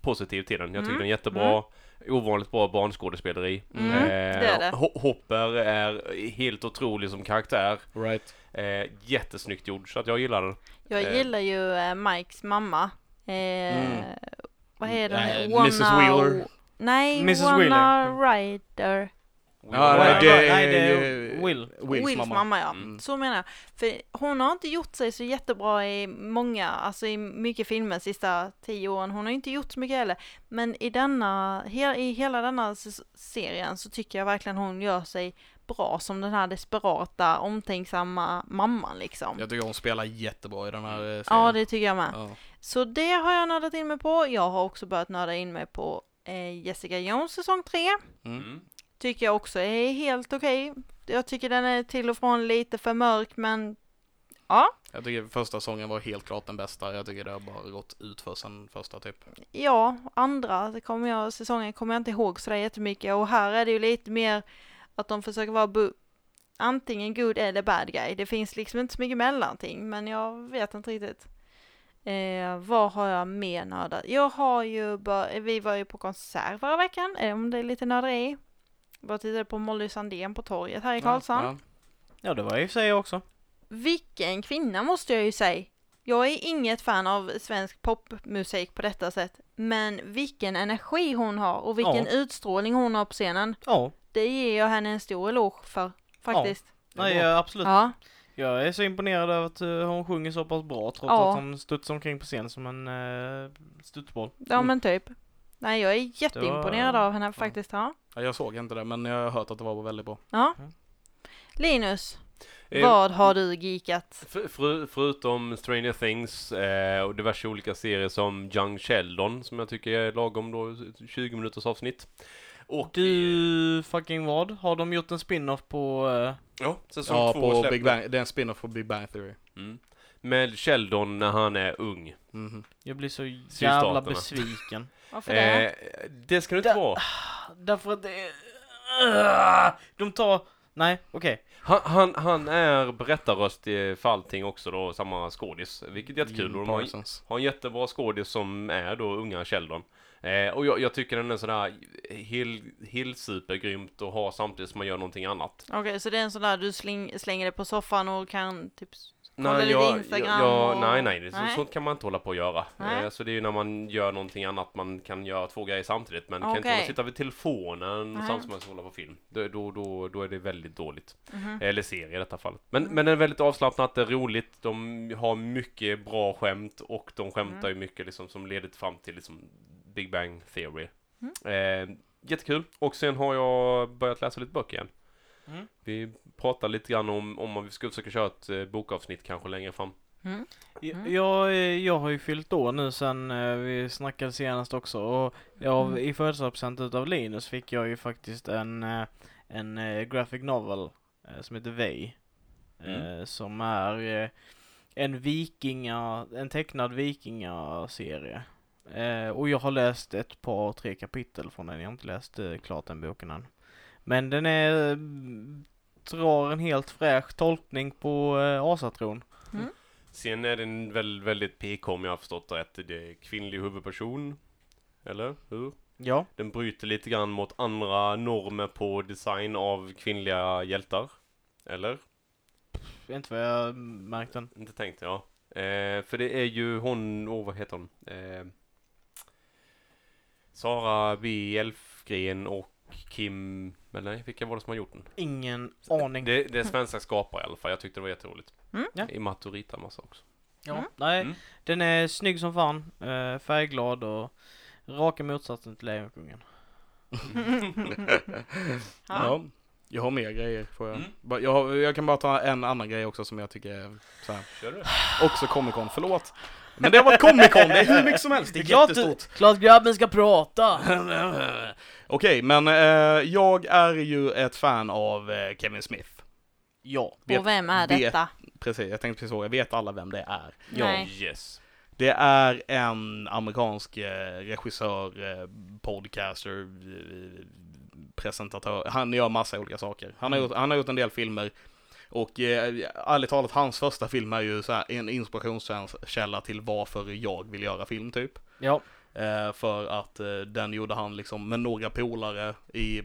A: positiv till den. Jag tyckte
C: Mm,
A: den är jättebra. Ovanligt bra barnskådespeleri. Eh,
C: Mm, det är det.
A: Ho- Hopper är helt otrolig som karaktär.
D: Right.
A: Eh, jättesnyggt gjord, så att jag gillar den.
C: Jag
A: Eh.
C: gillar ju eh, Mikes mamma. Eh,
D: Mm.
C: Vad heter hon?
D: Eh,
C: Wanna-
D: Mrs. Wheeler.
C: Nej,
B: Mrs.
C: Wanna
B: Wheeler.
C: Rider.
D: Ja,
B: nej,
D: nej,
B: det-
D: det,
B: nej, det är Will.
D: Wills, mamma.
C: ja.
A: Mm.
C: Så menar jag. För hon har inte gjort sig så jättebra i många, alltså i mycket filmer sista tio åren. Hon har inte gjort så mycket heller. Men i denna, he, i hela denna s- serien så tycker jag verkligen hon gör sig bra som den här desperata, omtänksamma mamman liksom. Ja,
D: Jag tycker hon spelar jättebra i den här eh, serien.
C: det tycker jag med.
D: Ja.
C: Så det har jag nördat in mig på. Jag har också börjat nörda in mig på eh, Jessica Jones säsong 3.
D: Mm.
A: Mm.
C: Tycker jag också är helt okej. Jag tycker den är till och från lite för mörk men
D: Jag tycker första sången var helt klart den bästa. Jag tycker det har bara gått ut för sen första typ.
C: ja, andra det kommer jag, säsongen kommer jag inte ihåg sådär jättemycket och här är det ju lite mer att de försöker vara bu- antingen good eller bad guy. Det finns liksom inte så mycket mellanting men jag vet inte riktigt. Eh, vad har jag mer nördat? Jag har ju, bör- vi var ju på konsert förra veckan, eh, om det är lite nörderi. Bara tittade på Molly Sandén på torget här i Karlshamn.
D: Ja,
B: Ja, det var i och för sig jag också.
C: Vilken kvinna måste jag ju säga. Jag är inget fan av svensk popmusik på detta sätt. Men vilken energi hon har och vilken
B: Ja.
C: utstrålning hon har på scenen.
B: Ja,
C: Det ger jag henne en stor eloge för faktiskt.
D: Det
B: nej,
D: var-
B: ja, absolut.
C: Ja,
B: Jag är så imponerad över att eh, hon sjunger så pass bra trots
C: Ja.
B: att hon studsar omkring på scen som en uh, studsboll.
C: ja men typ. Nej, jag är jätteimponerad
B: Mm. Det var-
C: av henne faktiskt. Ja.
D: Ja, jag såg inte det, men jag har hört att det var väldigt bra.
C: ja.
B: Mm.
C: Linus,
A: Eh,
C: vad har du geekat?
A: För- Fru, förutom Stranger Things eh, och diverse olika serier som Young Sheldon som jag tycker är lagom då 20 minuters avsnitt. Och
B: Du fucking vad? Har de gjort en spin-off på... eh,
A: ja, säsong
D: Ja,
A: två
D: på
A: släpp-
D: Big Bang. Det är en spin-off på Big Bang Theory.
A: Mm. Med Sheldon när han är ung.
D: Mhm.
B: jag blir så jävla
A: Sydstaterna.
B: besviken.
C: Varför det?
A: Eh, det ska det inte
B: Da-
A: vara.
B: Därför att det... är- de tar... Nej, okej.
A: Han, han, han är berättarröst eh, för allting också då, samma skådis. Vilket är jättekul.
D: Jim
A: Och de har,
D: Parsons.
A: har en jättebra skådis som är då unga Sheldon. Eh, och jag, jag tycker den är sådär hel, helt supergrymt att ha samtidigt som man gör någonting annat.
C: Okej, så det är en sån där du släng, slänger dig på soffan och kan typ... Kolla
A: Nej,
C: lite
A: jag,
C: Instagram
A: jag, jag,
C: och-
A: nej, nej, det, så-
C: Nej.
A: sånt kan man inte hålla på att göra.
C: Nej.
A: Eh, Så det är ju när man gör någonting annat, man kan göra två grejer samtidigt. Men kan inte
C: Okej.
A: hålla- sitta vid telefonen
C: Nej.
A: samtidigt som man ska hålla på film. Då, då, då, då är det väldigt dåligt.
C: Mhm.
A: Eller serie i detta fallet. Men, men det är väldigt avslappnat, det är roligt, de har mycket bra skämt och de skämtar ju mycket liksom, som leder fram till liksom, Big Bang Theory. Eh, jättekul. Och sen har jag börjat läsa lite böcker igen.
B: Mm.
A: Vi pratar lite grann om om vi ska försöka köra ett eh, bokavsnitt kanske längre fram.
C: Mm.
B: Jag,
C: Mm.
B: jag, eh, jag har ju fyllt år nu sen eh, vi snackade senast också och jag,
C: Mm.
B: i födelsedagspresent utav Linus fick jag ju faktiskt en, eh, en eh, graphic novel eh, som heter Vej.
A: Mm.
B: Eh, som är eh, en vikinga, en tecknad vikingaserie. Eh, och jag har läst ett par, tre kapitel från den. Jag har inte läst eh, klart den boken än. Men den är, mm, drar en helt fräsch tolkning på eh, asatron.
A: Sen är den väl väldigt PK om jag har förstått det rätt. Det är kvinnlig huvudperson. Eller hur?
B: Ja.
A: Den bryter lite grann mot andra normer på design av kvinnliga hjältar. Eller?
B: Inte vad jag märkt den.
A: Inte tänkt, ja. Eh, för det är ju hon, åh vad heter hon? Eh, Sara B. Elfgren och Kim, men nej, vilka var det som har gjort den?
B: Ingen aning.
A: Det, det är svenska skapare i alla fall, jag tyckte det var jätteroligt.
C: Mm.
B: Ja.
A: I Maturita massa också.
B: Ja,
C: Mm.
B: nej.
A: Mm.
B: Den är snygg som fan, eh, färgglad och raka motsatsen till Lejonkungen.
C: Ja.
D: Ja. Jag har mer grejer får jag.
A: Mm.
D: Bara- Jag, har, jag kan bara ta en annan grej också som jag tycker är så här.
A: Kör du?
D: Också Comic Con, förlåt. Men det har varit Comic Con, det är hur mycket som helst, det är jättestort.
B: klart grabben ska prata!
D: Okej, men eh, jag är ju ett fan av eh, Kevin Smith.
B: Ja.
C: Och vem är
D: vet-
C: detta?
D: Precis, jag tänkte precis fråga, vet alla vem det är?
C: Nej.
A: Yes.
D: Det är en amerikansk eh, regissör, eh, podcaster, eh, presentatör. Han gör massa olika saker. Han har gjort, han har gjort en del filmer. Och eh, ärligt talat, hans första film är ju så här, en inspirationskälla till varför jag vill göra film typ.
B: Ja.
D: Eh, för att eh, den gjorde han liksom med några polare i,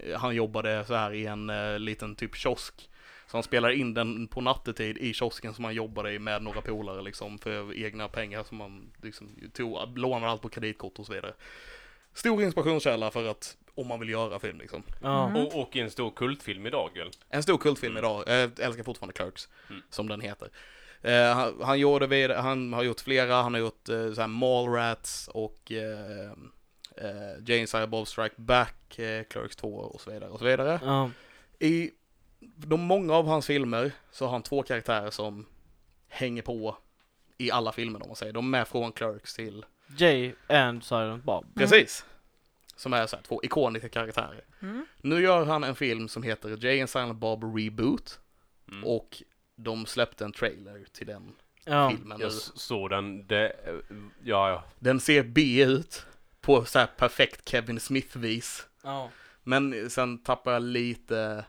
D: eh, han jobbade så här i en eh, liten typ kiosk. Så han spelade in den på nattetid i kiosken som han jobbade i med några polare liksom för egna pengar som han liksom tog, lånade allt på kreditkort och så vidare. Stor inspirationskälla för att om man vill göra film liksom.
B: Ja.
C: Mm.
A: Och, och i en stor kultfilm idag väl?
D: En stor kultfilm idag, jag älskar fortfarande Clerks,
A: Mm.
D: som den heter. Eh, han, han, gjorde vid, han har gjort flera, han har gjort eh, så här Mallrats och eh, eh, Jane Silent Bob Strike Back, eh, Clerks 2 och så vidare och så vidare.
B: Ja.
D: I de många av hans filmer så har han två karaktärer som hänger på i alla filmer om man säger. De är från Clerks till...
B: Jay and Silent Bob.
D: Precis! Som är så här, två ikoniska karaktärer.
C: Mm.
D: Nu gör han en film som heter Jay and Silent Bob Reboot.
A: Mm.
D: Och de släppte en trailer till den
B: Ja.
D: filmen nu.
A: Jag såg den, det, eh, ja ja.
D: Den ser B ut på så här perfekt Kevin Smith-vis.
B: Ja.
D: Men sen tappar jag lite,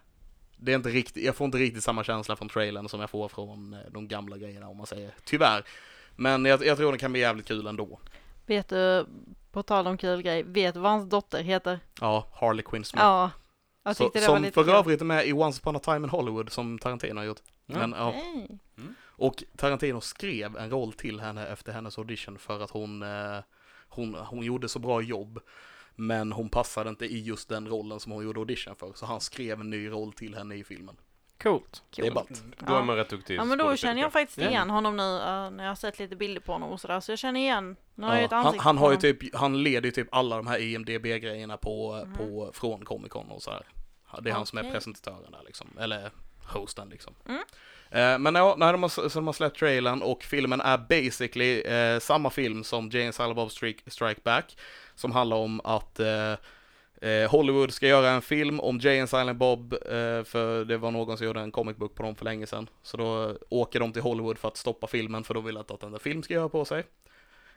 D: det är inte riktigt, jag får inte riktigt samma känsla från trailern som jag får från eh, de gamla grejerna om man säger, tyvärr. Men jag, jag tror den kan bli jävligt kul ändå.
C: Vet du, på tal om kul grej, vet du vad hans dotter heter?
D: Ja, Harley Quinn Smith.
C: Ja. Jag
D: Så,
C: tyckte det var
D: som
C: lite
D: för
C: kul.
D: övrigt är med i Once upon a time in Hollywood som Tarantino har gjort.
B: Ja.
D: Men, ja.
C: Nej.
D: Och Tarantino skrev en roll till henne efter hennes audition för att hon, eh, hon, hon gjorde så bra jobb. Men hon passade inte i just den rollen som hon gjorde audition för. Så han skrev en ny roll till henne i filmen.
B: Coolt.
D: Det är
C: Kul.
D: ballt.
A: Mm, Då är
C: Ja.
A: man rätt duktig
C: Ja men då känner jag faktiskt
B: Ja.
C: igen honom nu eh, när jag har sett lite bilder på honom och sådär. Så jag känner igen, nu har jag
D: Ja,
C: ett
D: han,
C: ansikte
D: han,
C: på
D: har ju
C: honom.
D: typ, han leder ju typ alla de här IMDB-grejerna på,
C: Mhm.
D: på, från Comic Con och så här. Det är han som är
C: Okej.
D: presentatören där liksom, eller hosten liksom.
C: Mm.
D: Eh, men ja, när de har, så de har släppt trailern och filmen är basically eh, samma film som Jane Silent Bob Strike, Strike Back, som handlar om att eh, eh, Hollywood ska göra en film om Jane Silent Bob, eh, för det var någon som gjorde en comic book på dem för länge sedan. Så då åker de till Hollywood för att stoppa filmen, för de vill inte att den där film ska göra på sig.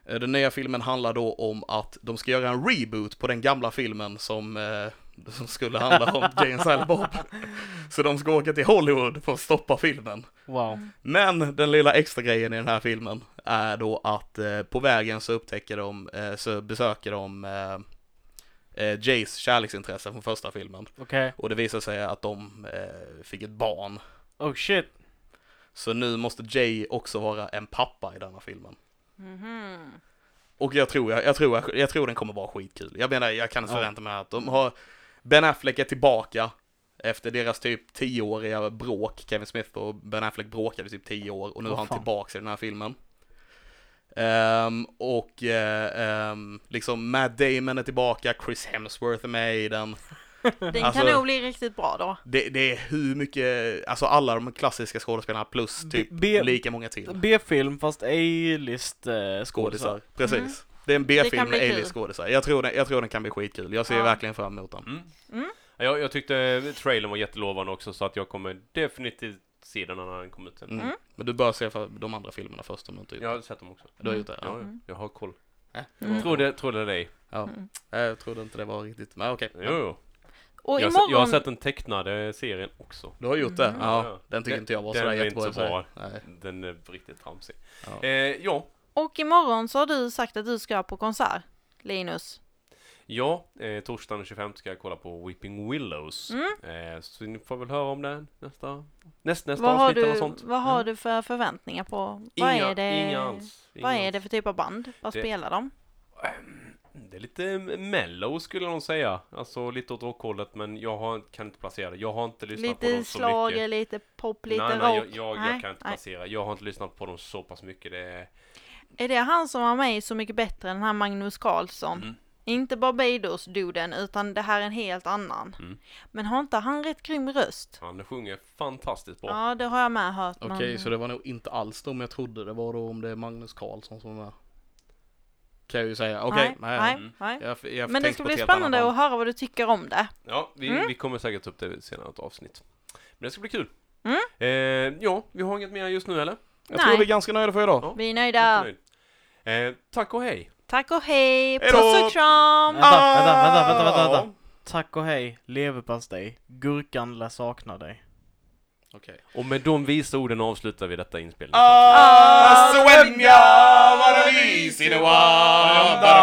D: Eh, Den nya filmen handlar då om att de ska göra en reboot på den gamla filmen som, eh, som skulle handla om Jane Silent Bob. Så de ska åka till Hollywood för att stoppa filmen.
B: Wow.
D: Men den lilla extra grejen i den här filmen är då att eh, på vägen så upptäcker de, eh, så besöker de eh, eh, Jays kärleksintresse från första filmen.
B: Okej.
D: Och det visar sig att de eh, fick ett barn.
B: Oh shit.
D: Så nu måste Jay också vara en pappa i denna filmen.
C: Mhm.
D: Och jag tror, jag, jag, tror, jag, jag tror den kommer vara skitkul. Jag menar, jag kan inte
B: Ja.
D: förvänta mig att de har... Ben Affleck är tillbaka efter deras typ tioåriga bråk. Kevin Smith och Ben Affleck bråkade i typ tio år och nu
B: Åh,
D: är han
B: fan.
D: tillbaka i den här filmen. Ehm, och eh, ehm, liksom Matt Damon är tillbaka, Chris Hemsworth är med i den.
C: Den
D: Alltså-
C: kan nog bli riktigt bra då.
D: Det, det är hur mycket, alltså alla de klassiska skådespelarna plus typ
B: B-
D: lika många till
B: B-film fast A-list eh,
D: skådisar.
B: skådisar.
D: Precis.
C: Mm.
D: Det är en
C: Det
D: B-film
C: kan
D: med
C: bli kul.
D: alias skådisar. Jag tror, den, jag tror den kan bli skitkul. Jag ser
C: Ja.
D: verkligen fram emot den.
A: Mm.
C: Mm.
A: Jag, jag tyckte trailern var jättelovande också så att jag kommer definitivt se den när den kommer ut sen.
D: Mm.
C: Mm.
D: Men du bör se för de andra filmerna först om du inte gjort
A: Jag
D: det.
A: har sett dem också.
D: Du har gjort det?
A: Ja,
D: Ja.
C: Mm.
A: jag har koll.
D: Äh, det
C: Mm.
D: var-
A: Trodde, trodde dig.
D: Ja.
C: Mm.
D: Äh, Jag trodde inte det var riktigt, men okej.
A: Jo, jo.
C: Och
A: Jag, har se-
C: imorgon...
A: jag har sett den tecknade serien också.
D: Du har gjort det?
C: Mm.
D: Ja. Den tycker
A: Den-
D: inte jag var
A: den
D: sådär
A: var inte
D: jättebra
A: så
D: i sig.
A: bra.
D: Nej.
A: Den är riktigt tramsig.
D: Ja.
A: Eh, ja,
C: Och imorgon så har du sagt att du ska på konsert, Linus.
A: Ja, eh, torsdagen den 25 ska jag kolla på Weeping Willows.
C: Mm.
A: Eh, så ni får väl höra om det nästa, näst, nästa
C: Vad har,
A: avsnitt eller
C: du,
A: något sånt.
C: vad har du för förväntningar på? Vad
A: inga,
C: är det,
A: inga alls. Inga
C: vad är det
A: alls.
C: för typ av band? Vad
A: Det-
C: spelar de?
A: Det är lite mellow skulle jag nog säga. Alltså lite åt rockhållet men jag har, kan inte placera det. Jag har inte lyssnat på
C: Lite
A: dem så mycket.
C: slager, lite pop, lite
A: nej,
C: rock?
A: nej, jag, jag, jag
C: Nej,
A: kan inte
C: nej.
A: placera. Jag har inte lyssnat på dem så pass mycket. Det är...
C: Är det han som var med i Så mycket bättre än den här Magnus Carlsson?
A: Mm.
C: Inte Barbados-duden, utan det här är en helt annan.
A: Mm.
C: Men har inte han rätt grym röst?
A: Han sjunger fantastiskt bra.
C: Ja, det har jag med hört.
D: Okej,
C: men-
D: så det var nog inte alls de jag trodde det var då om det är Magnus Karlsson som är Kan jag ju säga. Okej,
C: nej,
D: nej.
C: nej,
A: Mm.
C: nej.
D: Jag, f- jag
C: Men det
D: tänkte
C: ska
D: på
C: bli
D: ett helt annat
C: spännande
D: band.
C: att höra vad du tycker om det.
A: Ja, vi,
C: Mm.
A: vi kommer säkert ta upp det i ett senare ett avsnitt. Men det ska bli kul.
C: Mm.
A: Eh, ja, vi har inget mer just nu eller?
D: Jag
C: Nej.
D: tror vi är ganska nöjda för idag.
A: Ja.
C: Vi är nöjda.
A: Jättenöjd. Eh, tack och hej!
C: Tack och hej!
D: Hejdå!
C: Puss och kram!
B: Vänta, vänta, vänta, vänta, vänta,
D: Ah!
B: vänta. Tack och hej, leverpastej. Gurkan lär sakna dig.
D: Okej.
A: Och med de visa orden avslutar vi detta inspelning.
D: Ah, Svenja, vad det vis i det var.